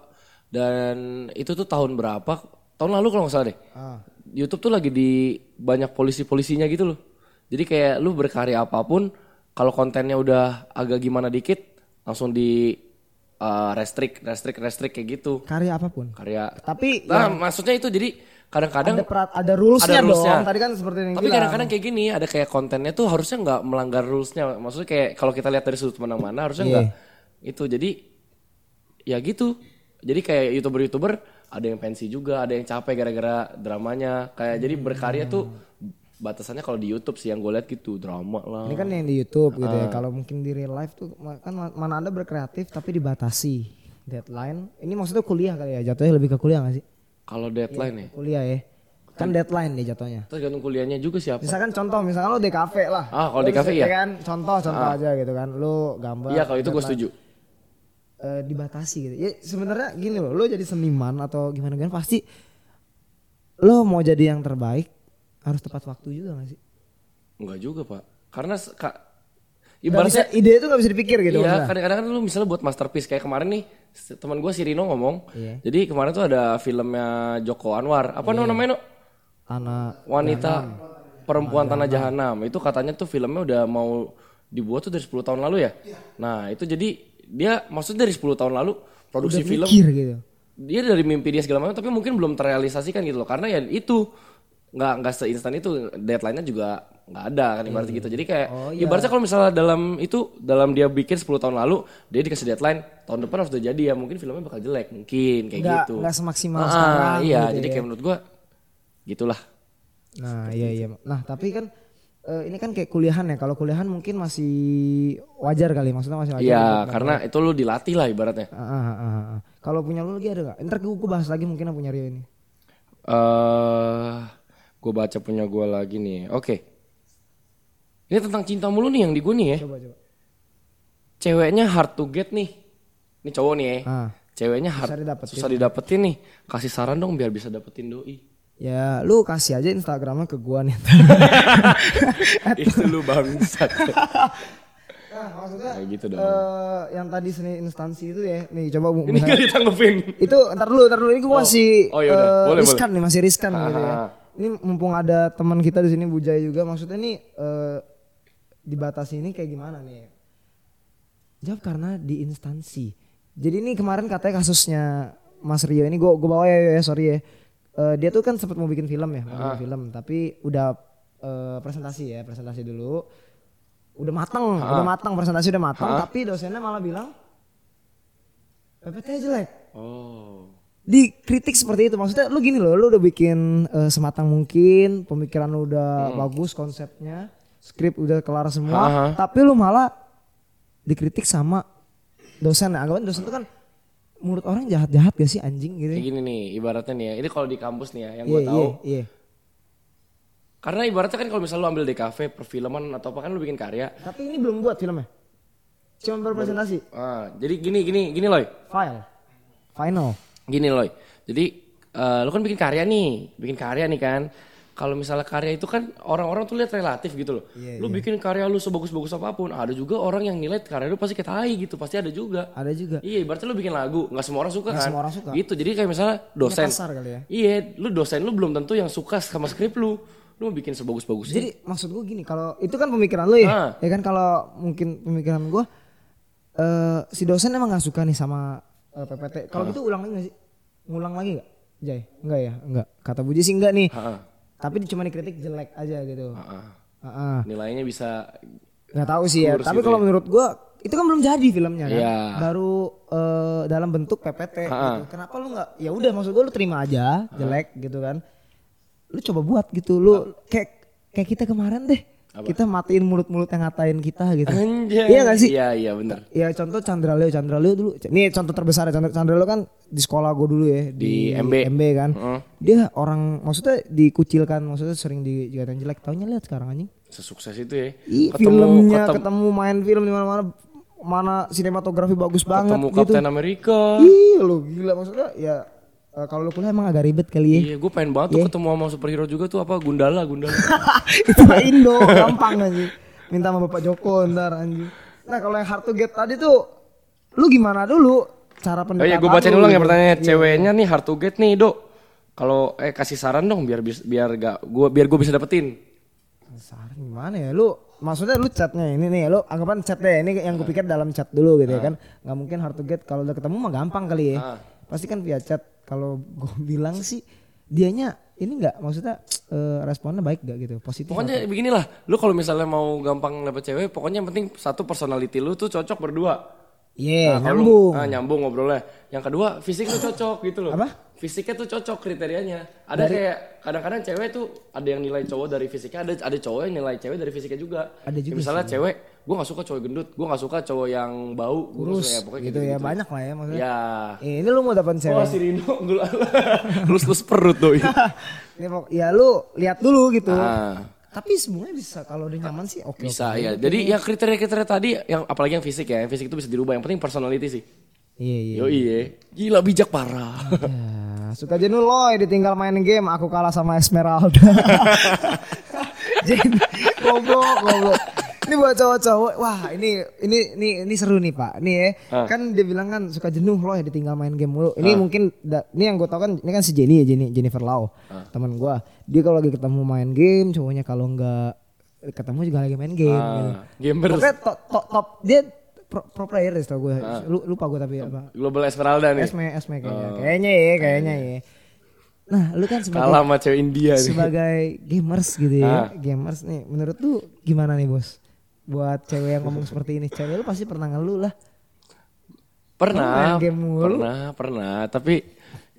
Dan itu tuh tahun berapa? Tahun lalu kalau nggak salah deh.
Ah.
YouTube tuh lagi di banyak polisi-polisinya gitu loh. Jadi kayak lu berkarya apapun, kalau kontennya udah agak gimana dikit, langsung di eh, restrict, restrict, restrict kayak gitu.
Karya apapun.
Karya.
Tapi
Nah, maksudnya itu jadi
ada
kadang-kadang
perat, ada rulesnya
ada rules-nya.
dong. Tadi kan seperti yang
Tapi
bilang.
kadang-kadang kayak gini, ada kayak kontennya tuh harusnya nggak melanggar rulesnya. Maksudnya kayak kalau kita lihat dari sudut mana-mana harusnya
Iya.
nggak itu. Jadi ya gitu. Jadi kayak youtuber-youtuber ada yang pensi juga, ada yang capek gara-gara dramanya. Kayak jadi berkarya tuh batasannya kalau di YouTube sih yang gue lihat gitu drama lah.
Ini kan yang di YouTube gitu
Ah.
ya. Kalau mungkin di real life tuh ma- kan ma- mana ada berkreatif tapi dibatasi deadline. Ini maksudnya kuliah kali ya. Jatuhnya lebih ke kuliah gak sih?
Kalau deadline ya,
Kuliah ya. Kan deadline dia jatuhnya.
terus gantung kuliahnya juga siapa?
Misalkan contoh, misalkan lo di kafe lah.
Ah, kalau di
Terus
kafe
ya
iya.
kan contoh contoh aja gitu kan. Lo gambar
Iya kalau itu gue setuju.
eh, dibatasi gitu. Ya sebenarnya gini loh, lo jadi seniman atau gimana gimana pasti lo mau jadi yang terbaik harus tepat waktu juga gak sih?
Enggak juga pak, karena se- ka,
Gak
ibaratnya
bisa, ide itu gak bisa dipikir gitu.
Iya,
maksudnya.
kadang-kadang kan lu misalnya buat masterpiece kayak kemarin nih si- teman gue si Rino ngomong.
Iya.
Jadi kemarin tuh ada filmnya Joko Anwar. Apa namanya? No?
Anak
Wanita Perempuan Tanah Jahanam. Itu katanya tuh filmnya udah mau dibuat tuh dari 10 tahun lalu ya. Nah, itu jadi dia maksudnya dari 10 tahun lalu produksi film
mikir gitu.
dia dari mimpi dia segala macam tapi mungkin belum terrealisasikan gitu loh karena ya itu nggak nggak seinstan itu deadline-nya juga nggak ada kan ibaratnya gitu jadi kayak
Oh, iya.
ibaratnya kalau misalnya dalam itu dalam dia bikin 10 tahun lalu dia dikasih deadline tahun depan harus udah jadi ya mungkin filmnya bakal jelek mungkin kayak
Nggak-
gitu
nggak semaksimal
Ah,
sekarang
iya
gitu
jadi
ya.
kayak menurut gua gitulah
Nah, iya iya. Nah, tapi kan eh, ini kan kayak kuliahan ya. Kalau kuliahan mungkin masih wajar kali, maksudnya masih wajar.
iya karena itu lu dilatih lah ibaratnya
Ah, ah, ah, ah, ah. Kalau punya lu lagi ada gak? Ntar gue gue bahas lagi mungkin yang punya Rio ini.
eh gua baca punya gua lagi nih oke ini tentang cinta mulu nih yang di gua nih ya
Coba coba.
ceweknya hard to get nih. Ini cowok nih ya.
Ah.
Ceweknya hard,
Susah
susah
didapetin.
didapetin. nih. Kasih saran dong biar bisa dapetin doi.
Ya, lu kasih aja Instagramnya ke gua
[laughs]
nih.
Itu lu bangsat.
nah, maksudnya
Kayak gitu
[laughs]
dong.
eh, yang tadi seni instansi itu ya. Nih, coba Bu.
Ini gak ditanggepin.
itu ntar dulu, ntar dulu ini gua masih
oh, yaudah.
eh,
Boleh,
riskan nih, masih riskan gitu ya.
Ah.
Ini mumpung ada teman kita di sini Bujay juga, maksudnya nih eh, dibatasi ini kayak gimana nih? Jawab karena di instansi. Jadi ini kemarin katanya kasusnya Mas Rio ini gua gua bawa ya, ya sorry ya. Eh, dia tuh kan sempat mau bikin film ya, mau
Ah.
bikin film, tapi udah eh, presentasi ya, presentasi dulu. Udah matang,
Ah.
udah matang presentasi udah matang, tapi dosennya malah bilang PPT jelek
Oh.
dikritik seperti itu maksudnya lu gini loh lu udah bikin eh, sematang mungkin pemikiran lu udah
Hmm.
bagus konsepnya skrip udah kelar semua
Aha.
tapi lu malah dikritik sama dosen nah, anggapan dosen itu kan menurut orang jahat jahat gak sih anjing gitu
Kayak
ya
gini nih, ibaratnya nih ya. Ini kalau di kampus nih ya, yang
iya
gue Iya, tahu.
iya
Karena ibaratnya kan kalau misalnya lu ambil di kafe, perfilman atau apa kan lu bikin karya.
tapi ini belum buat filmnya cuma berpresentasi
Ah, jadi gini, gini, gini loh.
file final
gini loh jadi eh, lu kan bikin karya nih bikin karya nih kan kalau misalnya karya itu kan orang-orang tuh lihat relatif gitu loh
Iya,
lu bikin karya lu sebagus-bagus apapun ada juga orang yang nilai karya lu pasti kayak tai gitu pasti ada juga
ada juga
iya ibaratnya lu bikin lagu nggak semua orang suka kan
semua orang suka.
gitu jadi kayak misalnya dosen
kasar kali ya
iya lu dosen lu belum tentu yang suka sama skrip lu lu mau bikin sebagus-bagus
Jadi maksud gue gini, kalau itu kan pemikiran lu ya,
Ah.
ya kan kalau mungkin pemikiran gue, eh si dosen emang nggak suka nih sama eh, PPT. Kalau
Ah.
gitu ulang lagi gak sih? Ngulang lagi gak? Jai, enggak ya, enggak. Kata Buji sih enggak nih.
Ha-ha.
Tapi cuma dikritik jelek aja gitu.
Ah,
Heeh.
nilainya bisa
Nggak tahu sih ya. Tapi kalau menurut gue itu kan belum jadi filmnya kan.
gitu Iya.
Baru eh, dalam bentuk PPT gitu. Kenapa lu nggak? Ya udah maksud gue lu terima aja jelek gitu kan. Lu coba buat gitu. Lu kayak kayak kita kemarin deh. Kita matiin mulut-mulut yang ngatain kita gitu.
anjay
Iya gak sih?
iya iya bener
Ya contoh Chandra Leo, Chandra Leo dulu. Ini contoh terbesar ya Chandra, Chandra Leo kan di sekolah gue dulu ya
Di MB.
kan.
Heeh.
Dia orang maksudnya dikucilkan, maksudnya sering dikatain jelek. Taunya lihat sekarang anjing.
sesukses itu ya
Ih, filmnya ketemu, main film di mana-mana mana sinematografi bagus banget
ketemu
gitu.
Kapten Amerika
Ih, lu gila maksudnya ya eh, kalau lu kuliah emang agak ribet kali ya. [laughs]
Iya, gue pengen banget tuh ketemu sama superhero juga tuh apa Gundala, Gundala.
itu mah Indo gampang anjing. Minta sama Bapak Joko ntar anjing. Nah kalau yang hard to get tadi tuh lu gimana dulu cara
Oh
pendekatan?
iya, gue bacain
lu
ulang ya
gitu?
pertanyaannya. Ceweknya nih hard to get nih, Dok. Kalau eh kasih saran dong biar bis- biar gak gua biar gue bisa dapetin.
Saran gimana ya lu? Maksudnya lu chatnya ini nih, lu anggapan chat deh ini yang gue pikir dalam chat dulu gitu ya kan?
Ah.
Gak mungkin hard to get kalau udah ketemu mah gampang kali ya. Pasti kan via chat. Kalau gue [laughs] bilang sih dianya ini nggak maksudnya eh, responnya baik gak gitu, positif.
Pokoknya beginilah, lu kalau misalnya mau gampang dapet cewek, pokoknya yang penting satu personality lu tuh cocok berdua.
Iya,
Kalau lu-
nyambung.
ah, nyambung ngobrolnya. Yang kedua, fisik lu cocok gitu loh.
Apa?
Fisiknya tuh cocok kriterianya. Ada kayak kadang-kadang cewek tuh ada yang nilai cowok dari fisiknya, ada ada cowok yang nilai cewek dari fisiknya juga.
Ada
Kayak
juga
misalnya cewek, gua nggak suka cowok gendut, gua nggak suka cowok yang bau, gua nggak suka ya pokoknya
gitu ya banyak lah ya maksudnya.
Ya.
Eh, ini lu mau dapetin cewek.
Oh, si Rino lulus lulus perut
[laughs]
doi.
Iya. Ini pokok- ya lu lihat dulu gitu.
Ah.
Tapi semuanya bisa kalau udah nyaman sih oke.
Bisa ya. Jadi yang kriteria-kriteria tadi yang apalagi yang fisik ya, yang fisik itu bisa dirubah. Yang penting personality sih.
Iya iya.
Yo iya. Gila bijak parah.
Ya, suka jenuh loy ditinggal main game aku kalah sama Esmeralda. [laughs] Jadi goblok goblok. Ini buat cowok-cowok, wah ini ini ini ini seru nih pak. Nih ya, kan dia bilang kan suka jenuh loh ya ditinggal main game mulu. Ini mungkin da- ini yang gue tau kan ini kan si Jenny ya Jenny Jennifer Lau teman gue. Dia kalau lagi ketemu main game, cowoknya kalau nggak ketemu juga lagi main game.
Ah.
gitu.
Gamer
Pokoknya top, top, top dia pro, pro player deh tau gue. Lu- Lupa gue tapi apa.
Global Esmeralda nih.
Esme, Esme kayaknya.
Oh,
Kayaknya ya, kayaknya ya. Nah, lu kan sebagai
Kalah Ah. sama cewek India nih.
sebagai gamers gitu ya. Gamers nih, menurut lu gimana nih, Bos? Buat cewek yang ngomong seperti ini, cewek lu pasti pernah ngeluh lah. main
Pernah,
game mulu.
pernah, pernah. Tapi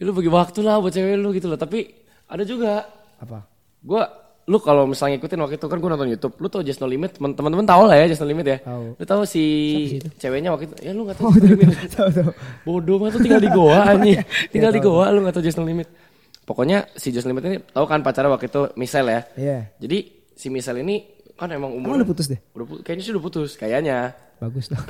ya lu bagi waktu lah buat cewek lu gitu loh. Tapi ada juga. [laughs]
Apa?
Gua lu kalau misalnya ngikutin waktu itu kan gua nonton YouTube, lu tau Just No Limit, temen- teman-teman tau lah ya Just No Limit ya.
Tahu.
Lu tau si ceweknya waktu itu, ya lu
Oh,
gak tau Just No Limit.
Tahu tahu.
Bodoh banget tuh tinggal di
[laughs] Oh,
Goa
iya.
anjing. tinggal di Goa lu gak tau Just No Limit. Pokoknya si Just No Limit ini tau kan pacarnya waktu itu Michelle ya.
Iya.
Jadi si Michelle ini kan emang
Emang
umur
udah putus deh.
udah pu- kayaknya sih udah putus kayaknya.
Bagus
[laughs]
dong.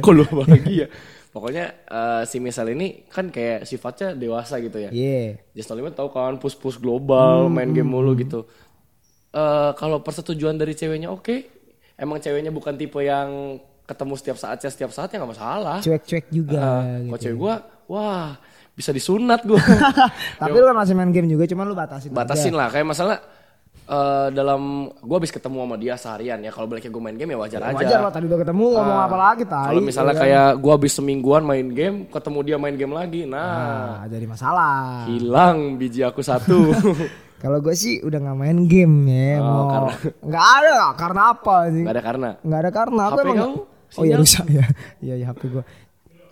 Kok lu bahagia? Pokoknya eh, si misal ini kan kayak sifatnya dewasa gitu ya.
Iya.
Just No Limit tahu kan push-push global, main game mulu gitu. Eh kalau persetujuan dari ceweknya oke, emang ceweknya bukan tipe yang ketemu setiap saatnya setiap saatnya nggak masalah.
Cuek-cuek juga gitu.
Eh, Kalau cewek gua, wah bisa disunat gua.
[laughs] Tapi lu kan masih main game juga, cuman lu batasin.
Batasin lah kayak masalah eh, dalam gua habis ketemu sama dia seharian ya kalau baliknya gua main game ya wajar,
aja.
aja. Ah.
Wajar lah tadi udah ketemu ngomong apa lagi tadi.
Kalau misalnya kayak gua habis semingguan main game, ketemu dia main game lagi.
Nah,
Nah,
jadi masalah.
Iya. hilang biji aku [laughs] satu.
Kalau gue sih udah nggak main game ya, mau
Ah, karena-
nggak ada karena apa sih?
Gak ada karena.
Nggak ada karena aku
HP
emang
kau
oh ya rusak ya, iya ya HP gue.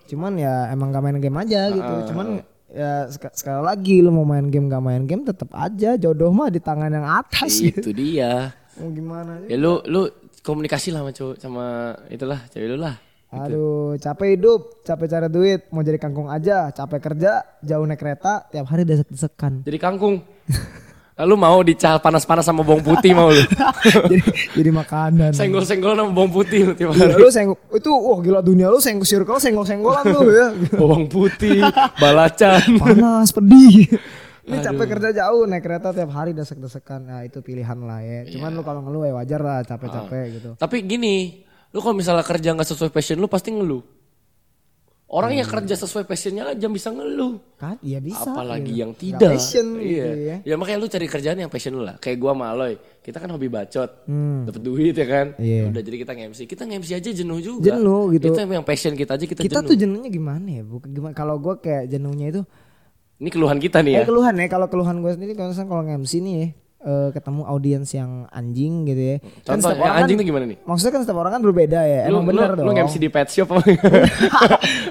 Cuman ya emang nggak main game aja gitu. Cuman ya sek- sekali lagi lu mau main game nggak main game tetap aja jodoh mah di tangan yang atas gitu.
Itu dia.
Mau gimana? sih?
Ya lu lu komunikasi lah sama cowok sama itulah cewek lu lah.
Aduh, capek hidup, capek cari duit, mau jadi kangkung aja, capek kerja, jauh naik kereta, tiap hari [laughs] desek-desekan.
Jadi kangkung. Lalu mau dical panas-panas sama bawang putih mau [laughs] lu.
jadi jadi makanan.
Senggol-senggol sama bawang putih lu tiap
Gila,
hari.
lu senggol itu wah gila dunia lu senggol circle senggol senggolan tuh ya [laughs]
Bawang putih, [laughs] balacan.
panas pedih [laughs] ini capek kerja jauh naik kereta tiap hari desek desekan nah itu pilihan lah ya cuman
Iya.
lu kalau ngeluh ya wajar lah capek
Ah.
capek gitu
Tapi gini, lu kalau misalnya kerja nggak sesuai passion lu pasti ngeluh. Orang yang kerja sesuai passionnya aja bisa ngeluh.
kan ya bisa
apalagi
gitu.
yang tidak
passion
iya.
gitu ya.
makanya lu cari kerjaan yang passion lu lah kayak gua sama Aloy kita kan hobi bacot dapet duit ya kan
Hmm. Iya.
udah jadi kita nge-MC kita nge-MC aja jenuh juga
Jenuh gitu.
itu emang yang passion kita aja kita,
kita
jenuh
tuh jenuhnya gimana ya bukan gimana kalau gue kayak jenuhnya itu
ini keluhan kita nih ya
Eh, keluhan ya kalau keluhan gue sendiri kalau misalnya kalau MC nih ya, eh, ketemu audiens yang anjing gitu ya Kan
contoh
setiap
yang
orang
anjing
kan-
tuh gimana nih
maksudnya kan setiap orang kan berbeda ya emang
lu,
bener
lu,
dong
lu nge-MC di pet shop apa
[laughs]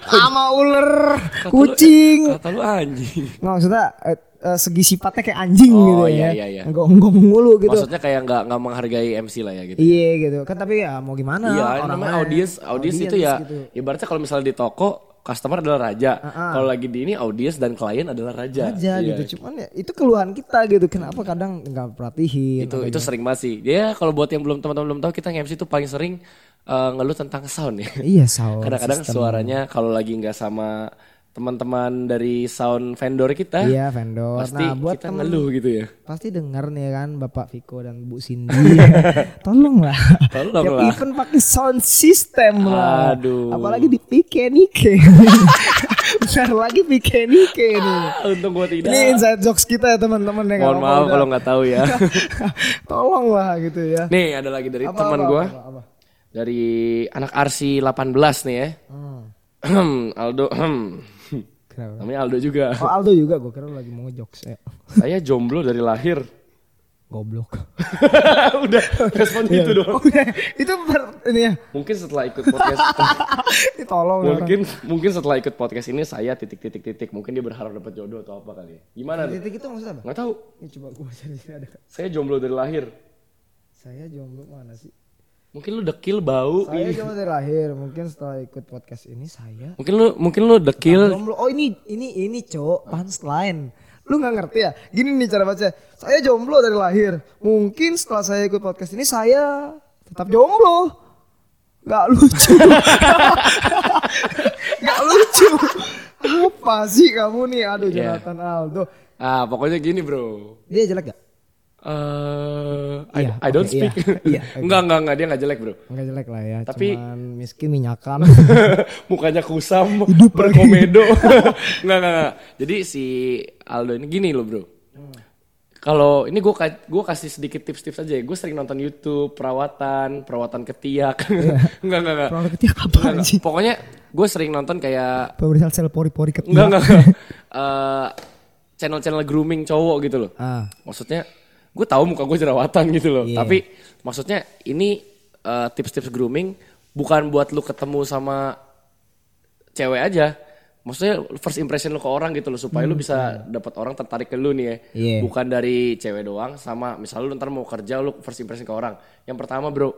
sama ular
Kata lu-
kucing
kata lu anjing
Nggak maksudnya eh, eh, segi sifatnya kayak anjing
Oh,
gitu
iya,
ya.
iya, iya.
Gonggong mulu gitu.
maksudnya kayak nggak nggak menghargai MC lah ya gitu
iya gitu. Kan tapi ya mau gimana
Iya, namanya
lain.
audience, audience, itu ya
gitu. Ah,
ibaratnya kalau misalnya di toko customer adalah raja. Kalau lagi di ini audience dan klien adalah raja.
aja
Iya,
gitu. Cuman ya itu keluhan kita gitu. Kenapa kadang nggak perhatiin.
itu itu sering banget sih dia kalau buat yang belum teman-teman belum tahu kita nge-MC itu paling sering eh, ngeluh tentang sound ya
[laughs] Iya, saw.
kadang-kadang suaranya kalau lagi nggak sama teman-teman dari sound vendor kita
Iya vendor.
pasti
nah buat
kita
temen
ngeluh gitu ya [laughs]
pasti denger nih kan Bapak Viko dan Bu Cindy. [laughs] Tolong lah.
Tolong
Tiap
lah.
event pakai sound system lah.
Aduh.
Apalagi di PK Nike. [laughs] Bentar lagi PK Nike nih.
Ah, untung gua tidak
Ini inside jokes kita ya teman-teman ya.
mohon maaf
[laughs]
kalau nggak tahu ya
Tolong lah gitu ya.
nih ada lagi dari
Apa,
teman
apa,
gua
apa, apa?
dari anak Arsi 18 nih ya [clears throat]
Hmm.
Aldo [clears throat]
Kenapa?
namanya Aldo juga
Oh Aldo juga gue kira lu lagi mau ngejokes ya.
saya jomblo dari lahir [laughs]
Goblok. [laughs]
udah respon
Iya.
gitu dong
Udah, itu per- ini ya.
mungkin setelah ikut
[laughs]
podcast
Ini tolong orang.
mungkin mungkin setelah ikut podcast ini saya titik titik titik mungkin dia berharap dapat jodoh atau apa kali ya. gimana tuh
Titik itu maksudnya apa?
nggak tahu
Ini coba gue cari sini ada.
saya jomblo dari lahir
Saya jomblo mana sih?
mungkin lu dekil bau
Saya jomblo dari lahir. Mungkin setelah ikut podcast ini saya
mungkin lu mungkin lu dekil
jomblo. Oh ini ini ini cowok punchline. Lu nggak ngerti ya? Gini nih cara baca. Saya jomblo dari lahir. Mungkin setelah saya ikut podcast ini saya tetap jomblo. Gak lucu. [laughs] Gak lucu. Apa sih kamu nih? Aduh
Iya.
Jonathan Aldo.
ah pokoknya gini bro
Dia jelek gak?
Eh, I,
Iya,
I don't
oke, iya.
speak. [laughs]
Iya, oke.
enggak, enggak, enggak, dia enggak jelek, Bro.
Enggak jelek lah ya.
Tapi-
Cuman miskin
[laughs]
minyakan.
Mukanya kusam, berkomedo. enggak, enggak, enggak. Jadi si Aldo ini gini loh, Bro. Kalau ini gue gua kasih sedikit tips-tips aja ya. Gue sering nonton YouTube perawatan, perawatan ketiak. [laughs] enggak, enggak, enggak.
Produk ketiak
Enggak,
apa
enggak.
sih?
Pokoknya gue sering nonton kayak
Pemeriksaan sel pori-pori ketiak.
enggak, enggak. enggak. Eh, channel-channel grooming cowok gitu loh.
Ah.
maksudnya gue tahu muka gue jerawatan gitu loh
Iya.
tapi maksudnya ini eh, tips-tips grooming bukan buat lu ketemu sama cewek aja maksudnya first impression lu ke orang gitu loh supaya lu bisa dapat orang tertarik ke lu nih ya
Hmm. Iya.
bukan dari cewek doang sama misal lu ntar mau kerja lu first impression ke orang yang pertama bro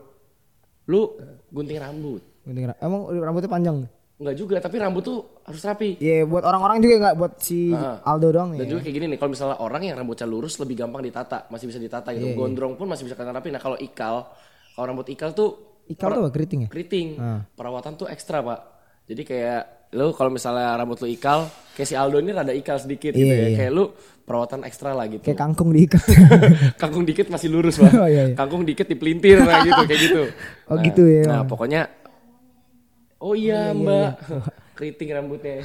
lu gunting rambut
Gunting ra- Emang rambutnya panjang.
Enggak juga tapi rambut tuh harus rapi
Iya, buat orang-orang juga nggak buat si
Ah.
Aldo doang
Dan
ya.
juga kayak gini nih, kalau misalnya orang yang rambutnya lurus lebih gampang ditata, masih bisa ditata
Iya,
gitu. Gondrong pun masih bisa kena rapi. Nah kalau ikal, kalau rambut ikal tuh
Ikal tuh apa keriting ya?
keriting, perawatan tuh ekstra pak. Jadi kayak lu kalau misalnya rambut lu ikal, kayak si Aldo ini rada ikal sedikit gitu ya.
Iya, iya.
Kayak lu perawatan ekstra lah gitu.
Kayak kangkung diikat.
[laughs] Kangkung dikit masih lurus pak.
[laughs] Oh, [laughs] iya, iya.
Kangkung dikit dipelintir lah gitu kayak gitu.
Oh, gitu ya.
Nah pokoknya, oh iya mbak, [laughs] keriting [laughs] rambutnya.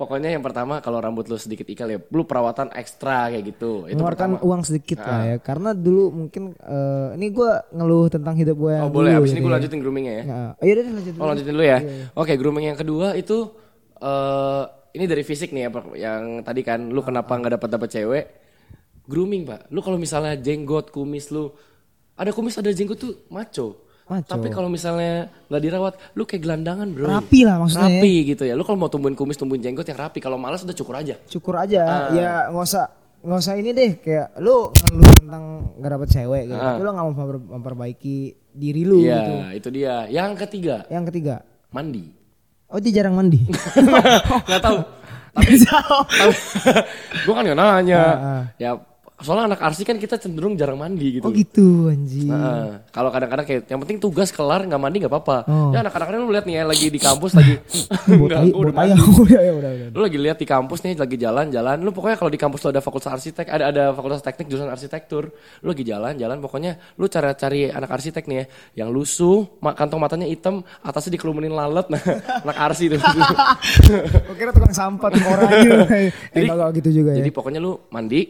pokoknya yang pertama kalau rambut lu sedikit ikal ya, lu perawatan ekstra kayak gitu. Itu
Mengeluarkan
pertama. Nah.
uang sedikit lah ya. Karena dulu mungkin eh, ini gua ngeluh tentang hidup gue yang
Oh boleh,
dulu
abis ini
gitu
gue
ya.
lanjutin groomingnya ya.
Nah, ayo deh lanjut dulu.
Oh lanjutin dulu ya.
Iya.
Oke grooming yang kedua itu eh ini dari fisik nih ya Pak. yang tadi kan
Ah.
lu kenapa nggak dapat dapat cewek grooming pak. Lu kalau misalnya jenggot kumis lu ada kumis ada jenggot tuh maco.
Maco.
Tapi kalau misalnya nggak dirawat lu kayak gelandangan bro.
Rapi lah maksudnya ya.
Rapi gitu ya. Lu kalau mau tumbuhin kumis tumbuhin jenggot yang rapi. Kalau malas udah cukur aja.
Cukur aja.
Ah.
Ya nggak usah nggak usah ini deh kayak lu ngeluh tentang gak dapet cewek gitu. Tapi lu nggak mau memper- memperbaiki diri lu
Ah. Iya
gitu.
itu dia. Yang ketiga
Yang ketiga, [laughs]
mandi.
oh dia jarang mandi.
nggak tahu. [laughs]
[laughs]
Tapi [laughs] gue kan nggak nanya.
Ah,
Ya soalnya anak arsi kan kita cenderung jarang mandi
oh
gitu.
gitu anjing.
Heeh. Hmm. kalau kadang-kadang kayak yang penting tugas kelar nggak mandi nggak apa-apa.
Oh.
Ya anak-anak lu lihat nih ya lagi di kampus
[laughs]
lagi.
Buat
Nggak,
tai-
gua udah
buat ayah [laughs] udah ya udah udah.
lu lagi lihat di kampus nih lagi jalan-jalan lu pokoknya kalau di kampus lu ada fakultas arsitek ada ada fakultas teknik jurusan arsitektur lu lagi jalan-jalan pokoknya lu cara-cari anak arsitek nih ya yang lusuh ma- kantong matanya hitam atasnya dikelumunin lalat [laughs] nah anak arsi itu
[laughs] Gue kira tukang sampah tukang orang gitu. Eh,
[laughs] Jadi-
enggak enggak gitu juga ya.
jadi pokoknya lu mandi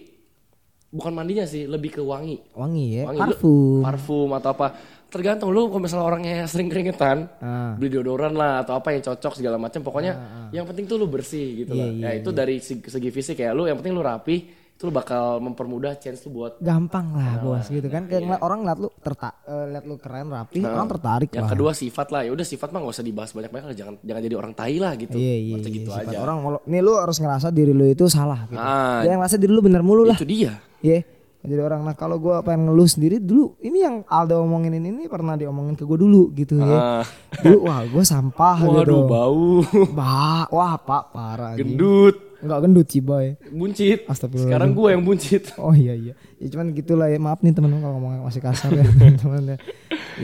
bukan mandinya sih lebih ke wangi
Wangi ya,
wangi lu-
parfum.
parfum atau apa tergantung lu kalau misalnya orangnya sering keringetan
Ah.
beli deodoran lah atau apa yang cocok segala macam pokoknya yang penting tuh lu bersih gitu
Iya,
lah
iya,
ya itu dari segi, segi fisik ya lu yang penting lu rapi itu lu bakal mempermudah chance lu buat
Gampang lah bos gitu kan.
Iya.
Kayak ngeliat orang liat lu terta eh, liat lu keren rapi,
Nah,
orang tertarik
yang
lah.
kedua sifat lah ya udah sifat mah gak usah dibahas banyak banyak lah jangan jangan jadi orang tai lah gitu
Iya iya.
Maksudnya
iya,
gitu
sifat
aja
Orang walau- nih lu harus ngerasa diri lu itu salah gitu.
Ah.
Jangan ngerasa diri lu bener mulu lah.
itu dia
Iya. Jadi orang nah kalau gua pengen ngeluh sendiri dulu ini yang Aldo omongin ini, ini pernah diomongin ke gua dulu gitu ya.
Ah.
Dulu wah gua sampah
waduh
gitu. [laughs]
bau
Bah, wah pak parah. anjing.
gendut
Enggak gendut sih boy.
buncit.
Astagfirullah.
Sekarang gue yang buncit.
Oh iya iya. Ya cuman gitulah ya. Maaf nih teman kalau ngomongnya masih kasar ya
[laughs]
teman-teman ya.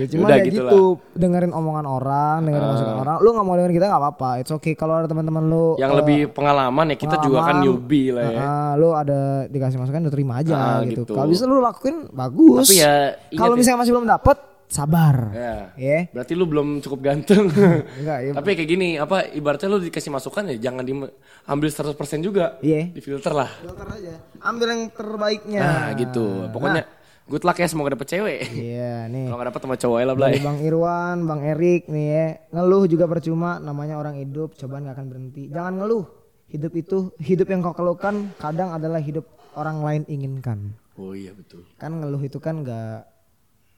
Ya cuman
Udah Ah.
ya
gitulah.
gitu dengerin omongan orang, dengerin masukan orang. Lu nggak mau dengerin kita nggak apa-apa. It's okay kalau ada teman-teman lu
Yang lebih pengalaman ya kita juga kan
pengalaman.
newbie lah ya.
ah, lu ada dikasih masukan lu terima aja
Ah,
gitu.
gitu.
Kalau bisa lu lakuin bagus.
Tapi ya ingat
kalau
ya.
misalnya masih belum dapet sabar. Ya.
Ya. Berarti lu belum cukup ganteng. [laughs]
Enggak ya.
Tapi kayak gini, apa ibaratnya lu dikasih masukan ya jangan diambil 100% juga.
Iya.
Difilter lah.
Filter aja. Ambil yang terbaiknya.
Nah, gitu. Pokoknya good luck ya semoga dapet
[laughs]
cewek.
Iya nih.
Kalau gak dapet sama cowok ya lah,
Dari
Blay.
Bang Irwan, Bang Erik nih ya. Ngeluh juga percuma, namanya orang hidup, cobaan gak akan berhenti. Jangan ngeluh. Hidup itu, hidup yang kau keluhkan kadang adalah hidup orang lain inginkan.
Oh iya betul.
Kan ngeluh itu kan gak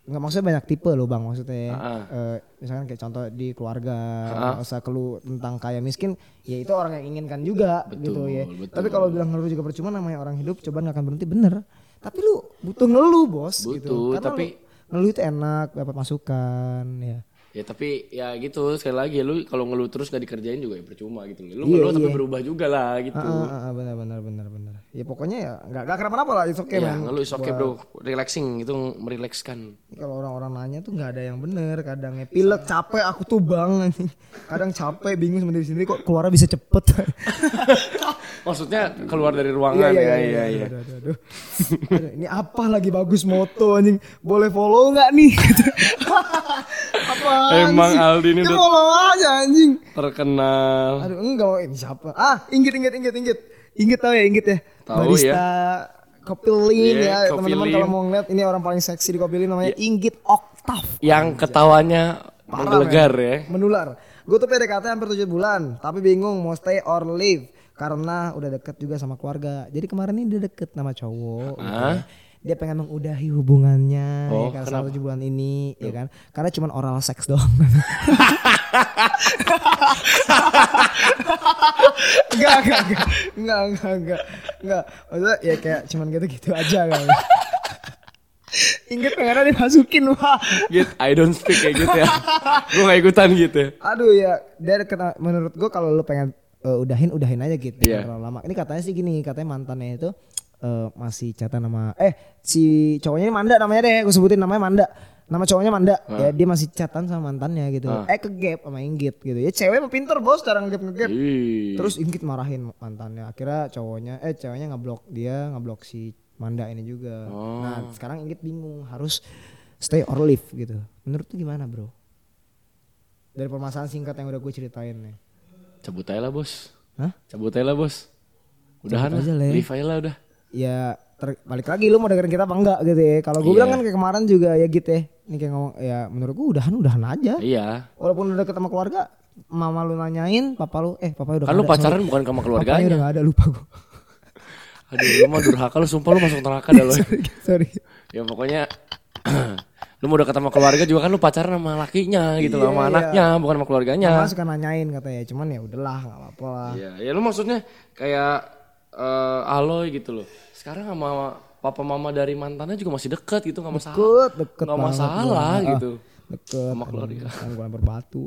nggak maksudnya banyak tipe loh bang maksudnya ya.
Ah.
Eh, misalkan kayak contoh di keluarga nggak usah keluh tentang kaya miskin ya itu orang yang inginkan juga gitu ya
betul.
tapi kalau bilang ngeluh juga percuma namanya orang hidup cobaan gak akan berhenti bener tapi lu butuh ngeluh bos
Butuh,
gitu Karena
tapi-
lu, ngeluh itu enak dapat masukan ya
Ya tapi ya gitu sekali lagi lu kalau ngeluh terus gak dikerjain juga ya percuma gitu. Lu
Iya,
ngeluh tapi
iya.
berubah juga lah gitu.
Ah, ah, ah, benar benar benar benar. Ya pokoknya ya nggak nggak kenapa-napa lah, it's okay
ya,
man.
ngeluh is okay, Bro. Relaxing itu merilekskan.
Kalau orang-orang nanya tuh nggak ada yang bener, kadangnya pilek,
Iya.
capek aku tuh bang, kadang capek, bingung sendiri sendiri kok keluarnya bisa cepet.
Maksudnya keluar dari ruangan ya. [laughs] Iya iya.
Aduh, aduh, aduh. Aduh, ini apa lagi bagus moto anjing? Boleh follow nggak nih? [laughs] apa?
Emang Aldi ini
ya,
udah-
follow aja anjing.
Terkenal.
Aduh enggak ini siapa? Ah, inget inget inget inget. Inget tau ya, inget ya.
Tahu
Barista
ya.
Kopilin
Iya,
ya, teman-teman
Kopilin.
kalau mau ngeliat ini orang paling seksi di Kopilin namanya Inggit Oktav.
yang ketawanya menggelegar ya.
Menular. Gue tuh PDKT hampir 7 bulan, tapi bingung mau stay or leave karena udah deket juga sama keluarga. Jadi kemarin ini dia deket sama cowok gitu ya. Dia pengen mengudahi hubungannya
Oh,
ya kan selama 7 bulan ini ya kan. Karena cuman oral seks doang. [laughs] Enggak, enggak, enggak. Enggak, enggak, enggak. Enggak. Maksudnya ya kayak cuman gitu-gitu aja kan. Ingat pengennya dimasukin wah.
Git, I don't speak kayak gitu ya. Gue gak ikutan gitu. ya.
Aduh ya, dari kena, menurut gua kalau lu pengen eh, udahin udahin aja gitu,
Iya.
jangan terlalu lama. Ini katanya sih gini, katanya mantannya itu eh, masih catatan nama eh si cowoknya ini Manda namanya deh, gue sebutin namanya Manda. Nama cowoknya Manda, ya dia masih catatan sama mantannya gitu. Eh ke gap sama Inggit gitu. Ya cewek mah pinter bos, cara ngegap ngegap.
Ih.
Terus Inggit marahin mantannya. Akhirnya cowoknya eh ceweknya ngeblok dia, ngeblok si Manda ini juga.
Oh.
Nah, sekarang Inggit bingung harus stay or leave gitu. Menurut tuh gimana, Bro? Dari permasalahan singkat yang udah gue ceritain nih.
Cabut aja lah bos.
Hah?
Cabut aja lah bos. Udahan
Cabut
lah.
aja lah ya.
Leave aja lah udah.
Ya ter- balik lagi lu mau dengerin kita apa enggak gitu ya. Kalau gue
Iya.
bilang kan kayak kemarin juga ya gitu ya. Ini kayak ngomong ya menurut gue udahan udahan aja.
Iya.
Walaupun udah ketemu keluarga, mama lu nanyain, papa lu eh papa udah
Kan lu
nggak ada,
pacaran bukan sama
sorry. Papanya
keluarganya.
udah gak ada lupa gue.
Aduh lu mah durhaka lu sumpah lu masuk neraka
[laughs]
dah lu.
[laughs] Sorry.
Ya pokoknya [clears throat] lu mau dekat sama keluarga juga kan lu pacaran sama lakinya gitu
Iya,
loh sama anaknya bukan sama keluarganya.
Mama suka nanyain katanya, cuman ya udahlah nggak apa-apa lah.
Iya, ya lu maksudnya kayak eh Aloy gitu loh. Sekarang sama papa mama dari mantannya juga masih deket gitu nggak masalah.
Deket, deket
Nggak
banget
masalah
gua. Ah,
gitu.
Deket
Sama keluarga.
Tanggulan
[laughs]
berbatu.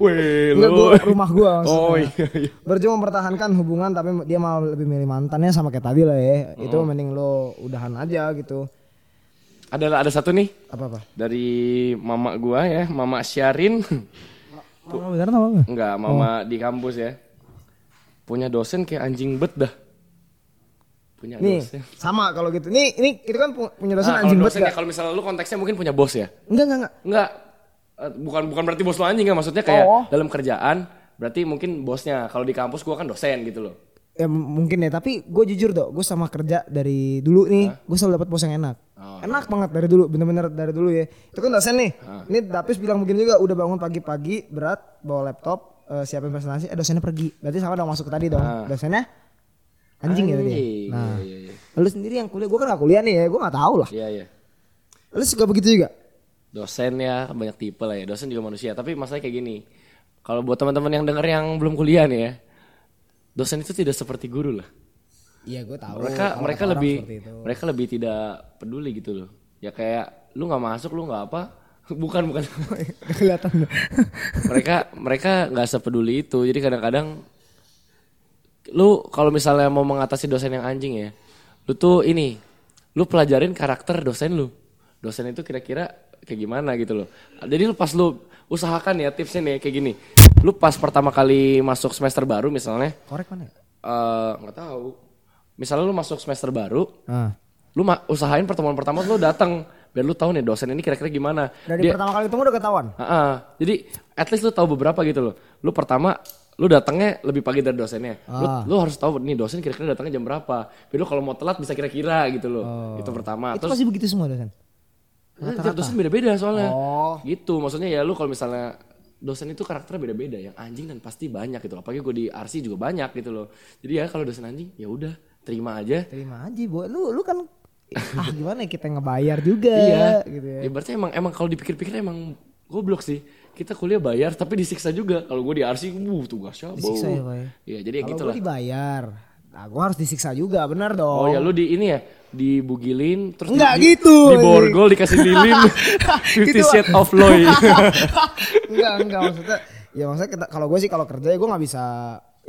Weh,
Enggak
lu.
gua rumah gua maksudnya.
Oh iya, iya.
Berjuang mempertahankan hubungan tapi dia malah lebih milih mantannya sama kayak tadi lah ya. Itu
Hmm.
mending lo udahan aja gitu.
Ada ada satu nih
Apa apa?
dari mama gua ya, mama Syarin. [laughs]
Mama Oh, beneran apa enggak?
Enggak, mama
Oh.
di kampus ya. Punya dosen kayak anjing bet dah. Punya
Nih,
dosen.
sama kalau gitu. Nih, ini itu kan pu- punya dosen
Nah, kalau
anjing
dosen
banget
ya, kalau misalnya lu konteksnya mungkin punya bos ya.
Enggak, enggak, enggak.
Enggak. eh, Bukan bukan berarti bos lo anjing ya, maksudnya kayak
Oh.
dalam kerjaan berarti mungkin bosnya. Kalau di kampus gua kan dosen gitu loh.
Ya m- mungkin ya, tapi gue jujur dong, gue sama kerja dari dulu nih, gue selalu dapat bos yang enak. enak banget dari dulu, bener-bener dari dulu ya. Itu kan dosen nih, ini Dapis bilang begini juga, udah bangun pagi-pagi, berat, bawa laptop, eh, siapin presentasi, eh dosennya pergi. Berarti sama dong masuk ke tadi dong, dosennya anjing, ya tadi. ya?
Anjing,
Nah,
Iya iya.
lu sendiri yang kuliah, gue kan gak kuliah nih ya, gue gak tahu lah.
Iya iya.
Lu suka begitu juga?
Dosen ya banyak tipe lah ya. Dosen juga manusia. Tapi masalahnya kayak gini. Kalau buat teman-teman yang denger yang belum kuliah nih ya. Dosen itu tidak seperti guru lah.
Iya gue [laughs] tahu.
mereka mereka lebih mereka lebih tidak peduli gitu loh ya kayak lu nggak masuk lu nggak apa [laughs] bukan bukan
kelihatan.
mereka mereka nggak sepeduli itu jadi kadang-kadang lu kalau misalnya mau mengatasi dosen yang anjing ya, lu tuh ini, lu pelajarin karakter dosen lu. Dosen itu kira-kira kayak gimana gitu loh. Jadi lu pas lu usahakan ya tipsnya nih kayak gini. Lu pas pertama kali masuk semester baru misalnya,
Korek mana? ya?
eh, nggak tahu. Misalnya lu masuk semester baru,
Ah.
lu ma- usahain pertemuan pertama lu datang biar lu tahu nih dosen ini kira-kira gimana.
Dari
Dia-
pertama kali ketemu udah ketahuan.
Heeh. Jadi at least lu tahu beberapa gitu loh. Lu pertama lu datangnya lebih pagi dari dosennya. Lu,
Ah.
lu harus tahu nih dosen kira-kira datangnya jam berapa. Tapi lu kalau mau telat bisa kira-kira gitu loh. Itu pertama.
Oh. Itu
Terus
masih begitu semua dosen.
eh, tiap dosen beda-beda soalnya.
Oh.
Gitu. Maksudnya ya lu kalau misalnya dosen itu karakternya beda-beda yang anjing dan pasti banyak gitu. Apalagi gue di RC juga banyak gitu loh. Jadi ya kalau dosen anjing ya udah terima aja.
Terima aja, Bu. Lu lu kan [laughs] ah gimana ya kita ngebayar juga
Iya.
gitu ya.
Ya berarti emang emang kalau dipikir-pikir emang goblok sih. Kita kuliah bayar tapi disiksa juga. Kalau gue di RC, uh tugasnya bau.
Disiksa ya, Pak, ya?
Iya, jadi ya
Kalau
gitu
gua
lah.
dibayar, nah, gua harus disiksa juga, benar
Oh,
dong.
ya lu di ini ya, dibugilin terus
Nggak
di-
gitu.
Di borgol dikasih
[laughs]
lilin. Fifty
Gitu, Pak.
Shades
[laughs]
of Loy.
[laughs] enggak, enggak maksudnya. Ya maksudnya kita- kalau gue sih kalau kerja ya gue nggak bisa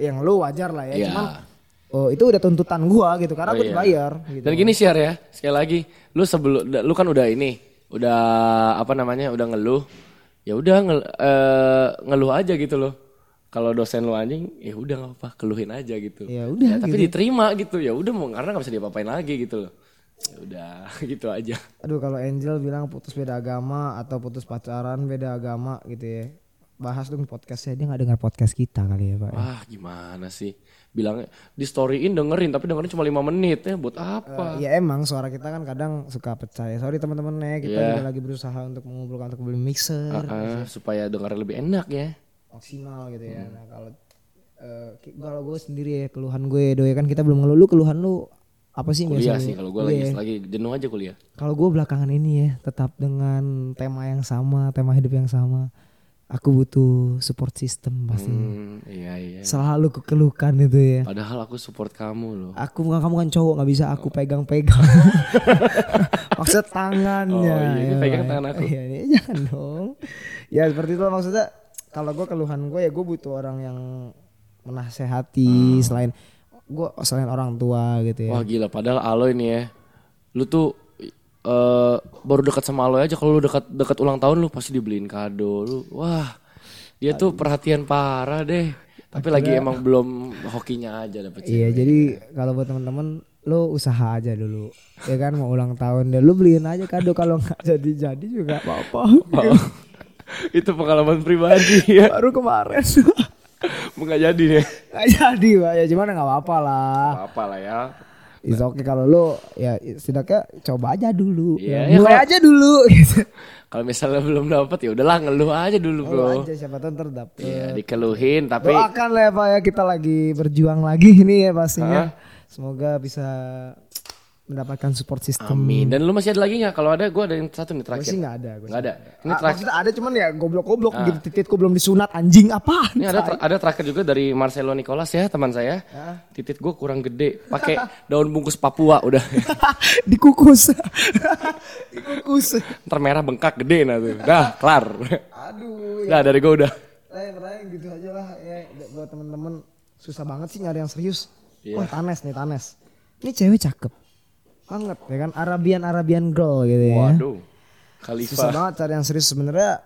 yang lu wajar lah ya.
Iya.
Cuman oh, itu udah tuntutan gua gitu karena gua
Oh, iya.
dibayar gitu.
Dan gini share ya, sekali lagi, lu sebelum da- lu kan udah ini, udah apa namanya, udah ngeluh. Ya udah ngel- eh, ngeluh aja gitu loh. Kalau dosen lu anjing, ya udah nggak apa, keluhin aja gitu.
Ya udah
Ya, tapi diterima gitu. Ya udah mau karena nggak bisa diapa-apain lagi gitu loh. Ya udah, [laughs] gitu aja.
Aduh kalau Angel bilang putus beda agama atau putus pacaran beda agama gitu ya. Bahas dong podcastnya dia nggak dengar podcast kita kali ya pak.
Wah, gimana sih? Bilangnya di storyin dengerin, tapi dengerin cuma lima menit ya, buat apa?
Ya emang suara kita kan kadang suka pecah ya. Sorry teman-teman ya kita juga lagi berusaha untuk mengumpulkan untuk beli mixer
Iya. Ah, supaya dengerin lebih enak ya.
maksimal gitu
Hmm.
ya. Nah kalau eh, ki- kalau gue sendiri ya keluhan gue doi kan kita belum ngeluh Lu keluhan lu apa sih biasanya?
Kuliah Iya sih kalau gue lagi lagi jenuh aja kuliah.
Kalau gue belakangan ini ya tetap dengan tema yang sama, tema hidup yang sama. Aku butuh support system pasti.
Hmm, iya iya.
Selalu kekeluhkan itu ya.
Padahal aku support kamu loh.
Aku bukan kamu kan cowok nggak bisa aku
[laughs]
pegang-pegang. Maksud tangannya.
Oh, iya, ini
ya,
pegang
Pak.
tangan aku.
Iya, iya, [laughs] jangan dong. ya seperti itu maksudnya. Kalau gue keluhan gue ya gue butuh orang yang menasehati selain gue selain orang tua gitu ya.
Hmm. Wah gila, padahal Aloy nih ya. Lu tuh eh, baru dekat sama Aloy aja kalau lu dekat dekat ulang tahun lu pasti dibeliin kado lu. Wah, dia tuh perhatian parah deh. Tapi lagi emang belum hokinya aja
[laughs]
dapet sih.
Iya, jadi kalau buat teman-teman lo usaha aja dulu. Ya kan mau ulang tahun deh. Lu beliin aja kado kalau nggak jadi-jadi juga nggak apa-apa.
Oh, itu pengalaman pribadi ya.
Baru kemarin. [laughs]
Enggak jadi deh.
Nggak jadi, Pak. Ya gimana nggak apa-apa lah.
Apa lah ya.
It's okay kalau lo ya setidaknya coba aja dulu.
Iya,
ya,
iya,
mulai aja dulu [laughs] gitu.
Kalau misalnya belum dapet ya udahlah ngeluh aja dulu,
Lu
Bro.
aja siapa tahu ntar dapet.
Iya, dikeluhin tapi
Doakan lah ya Pak ya kita lagi berjuang lagi [laughs] ini ya pastinya. Semoga bisa mendapatkan support system.
amin. Dan lu masih ada lagi nggak? Kalau ada gue ada yang satu nih
Gue
terakhir.
sih nggak ada. Gue
Nggak ada. Ini
Ah,
terakhir. Ah.
maksudnya ada cuman ya goblok-goblok gitu titit gue belum disunat anjing apaan
Ini ada ter- ada terakhir juga dari Marcelo Nicolas ya teman saya. Titit gue kurang gede, pakai daun bungkus Papua udah.
[laughs] dikukus [laughs] dikukus
Ntar merah bengkak gede nah tuh. Dah, kelar.
aduh
Dah dari gue udah.
pertanyaan gitu aja lah ya buat temen-temen susah banget sih nyari yang serius wah Tanes nih Tanes ini cewek cakep banget ya kan Arabian Arabian girl gitu ya
Waduh.
susah
Khalifa.
banget cari yang serius sebenarnya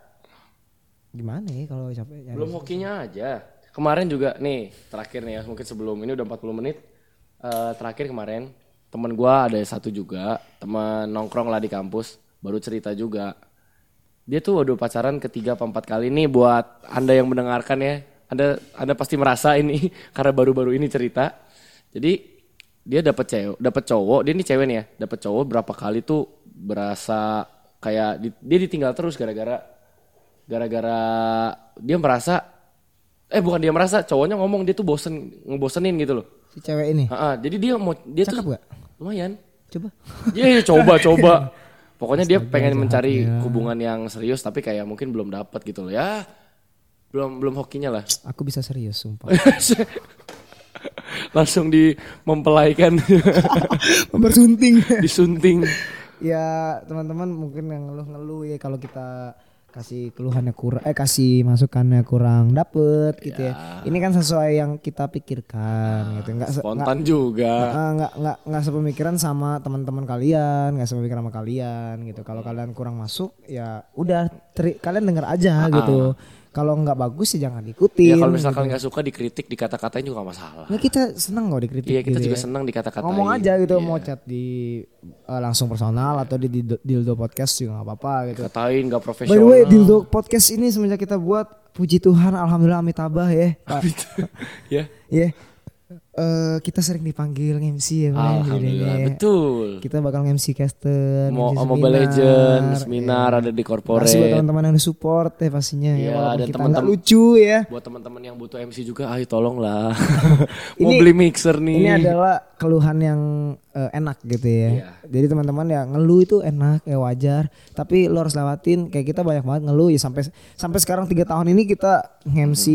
gimana ya kalau capek nyari
Belum hokinya aja. Kemarin juga nih, terakhir nih ya, mungkin sebelum ini udah 40 menit. Eh, terakhir kemarin teman gue ada satu juga, teman nongkrong lah di kampus, baru cerita juga. Dia tuh waduh pacaran ketiga apa empat kali nih buat Anda yang mendengarkan ya. Anda Anda pasti merasa ini [laughs] karena baru-baru ini cerita. Jadi dia dapat cewek, dapat cowok, dia ini cewek nih ya, dapat cowok berapa kali tuh berasa kayak di- dia ditinggal terus gara-gara gara-gara dia merasa eh bukan dia merasa cowoknya ngomong dia tuh bosen ngebosenin gitu loh
si cewek ini
Ha-ha, jadi dia mau dia
cakep
tuh
gak
lumayan
coba
Iya, iya, coba coba pokoknya dia pengen mencari hubungan yang serius tapi kayak mungkin belum dapat gitu loh ya belum belum hokinya lah [laughs]
aku bisa serius sumpah [laughs]
langsung di mempelaikan [laughs]
bersunting
disunting
ya teman-teman mungkin yang ngeluh-ngeluh ya kalau kita kasih keluhannya kurang eh kasih masukannya kurang dapet gitu ya. Ini kan sesuai yang kita pikirkan gitu. Enggak se- enggak
Ah, Spontan juga.
eh, enggak enggak enggak sepemikiran sama teman-teman kalian, enggak sepemikiran sama kalian gitu. Kalau kalian kurang masuk ya udah teri- kalian denger aja gitu. Kalau nggak bagus ya jangan
Ah. Ya
diikutin.
kalau misalkan nggak suka dikritik, dikata-katain juga nggak masalah.
Nah, kita seneng kok dikritik
Iya, kita
gitu
juga Iya.
ya.
senang dikata-katain.
ngomong aja gitu mau chat di eh, langsung personal atau di, di dildo podcast juga nggak apa-apa gitu.
Katain nggak
By the way,
profesional.
dildo podcast ini semenjak kita buat puji Tuhan alhamdulillah amitabah ya. [laughs] Pak.
Ah. ya.
Ya. Eh, kita sering dipanggil MC ya, Pak,
Alhamdulillah,
jadinya ya.
betul.
Kita bakal MC caster,
Mau
MC
Mobile
seminar.
Legends, seminar ada
iya. Makasih
di
buat
corporate.
teman-teman yang udah support ya pastinya
Iya,
ya, walaupun
ada
kita
teman-teman-
nggak lucu ya.
Buat teman-teman yang butuh MC juga, ayo
[laughs]
tolonglah. Mau beli mixer nih.
Ini adalah keluhan yang eh, enak gitu ya.
Iya.
Jadi teman-teman ya ngeluh itu enak ya wajar, tapi lo harus lewatin kayak kita banyak banget ngeluh ya sampai sampai sekarang tiga tahun ini kita MC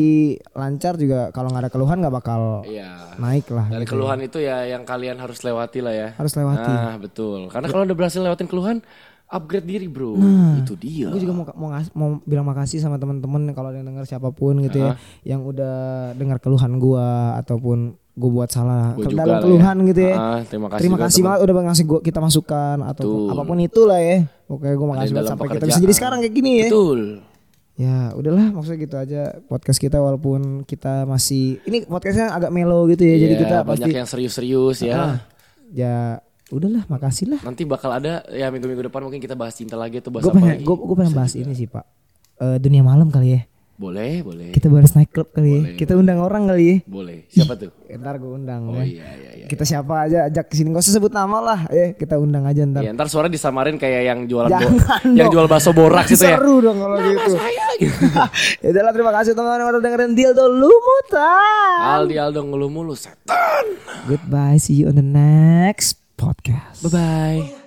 lancar juga kalau nggak ada keluhan nggak bakal
Iya.
naik lah.
Dari keluhan itu ya yang kalian harus lewati lah ya.
Harus lewati.
Nah, betul. Karena kalau udah berhasil lewatin keluhan, upgrade diri, Bro. Itu dia.
Gue Nah, juga mau mau, ngas- mau bilang makasih sama teman-teman kalau ada yang denger siapapun gitu ya yang udah dengar keluhan gua ataupun gue buat salah ke-
Gua juga
dalam
lah ya.
keluhan gitu ya.
Ah, terima kasih
Terima
juga
kasih banget udah ngasih gua kita masukan atau apapun itulah ya. Oke, gue makasih banget
dalam
sampai kita bisa
pekerjaan.
jadi sekarang kayak gini ya.
Betul.
Ya, udahlah maksudnya gitu aja podcast kita walaupun kita masih ini podcastnya agak mellow gitu ya. jadi
Ya,
kita
banyak
pasti
yang serius-serius ya.
ya udahlah makasih lah.
Nanti bakal ada ya minggu-minggu depan mungkin kita bahas cinta lagi atau bahas
Gue
apa
pengen
lagi.
gue gue pengen bahas ini sih, Pak. Eh, dunia malam kali ya.
Iya. Boleh, boleh.
Kita baris naik klub kali ya. Kita undang orang kali ya.
Boleh. Siapa tuh?
Ntar gue undang ya.
Iya, iya, iya.
Kita siapa aja ajak kesini Gak usah sebut nama lah ya. Kita undang aja ntar
Ya, ntar suara disamarin kayak yang
[laughs]
jualan bo-
Jangan
yang
dong.
jual bakso borak gitu ya.
Seru dong kalau gitu [laughs] Ya udahlah terima kasih teman-teman yang udah dengerin Dildo Lumutan
Aldi Aldo ngeluh mulu setan.
Goodbye see you on the next podcast
Bye bye.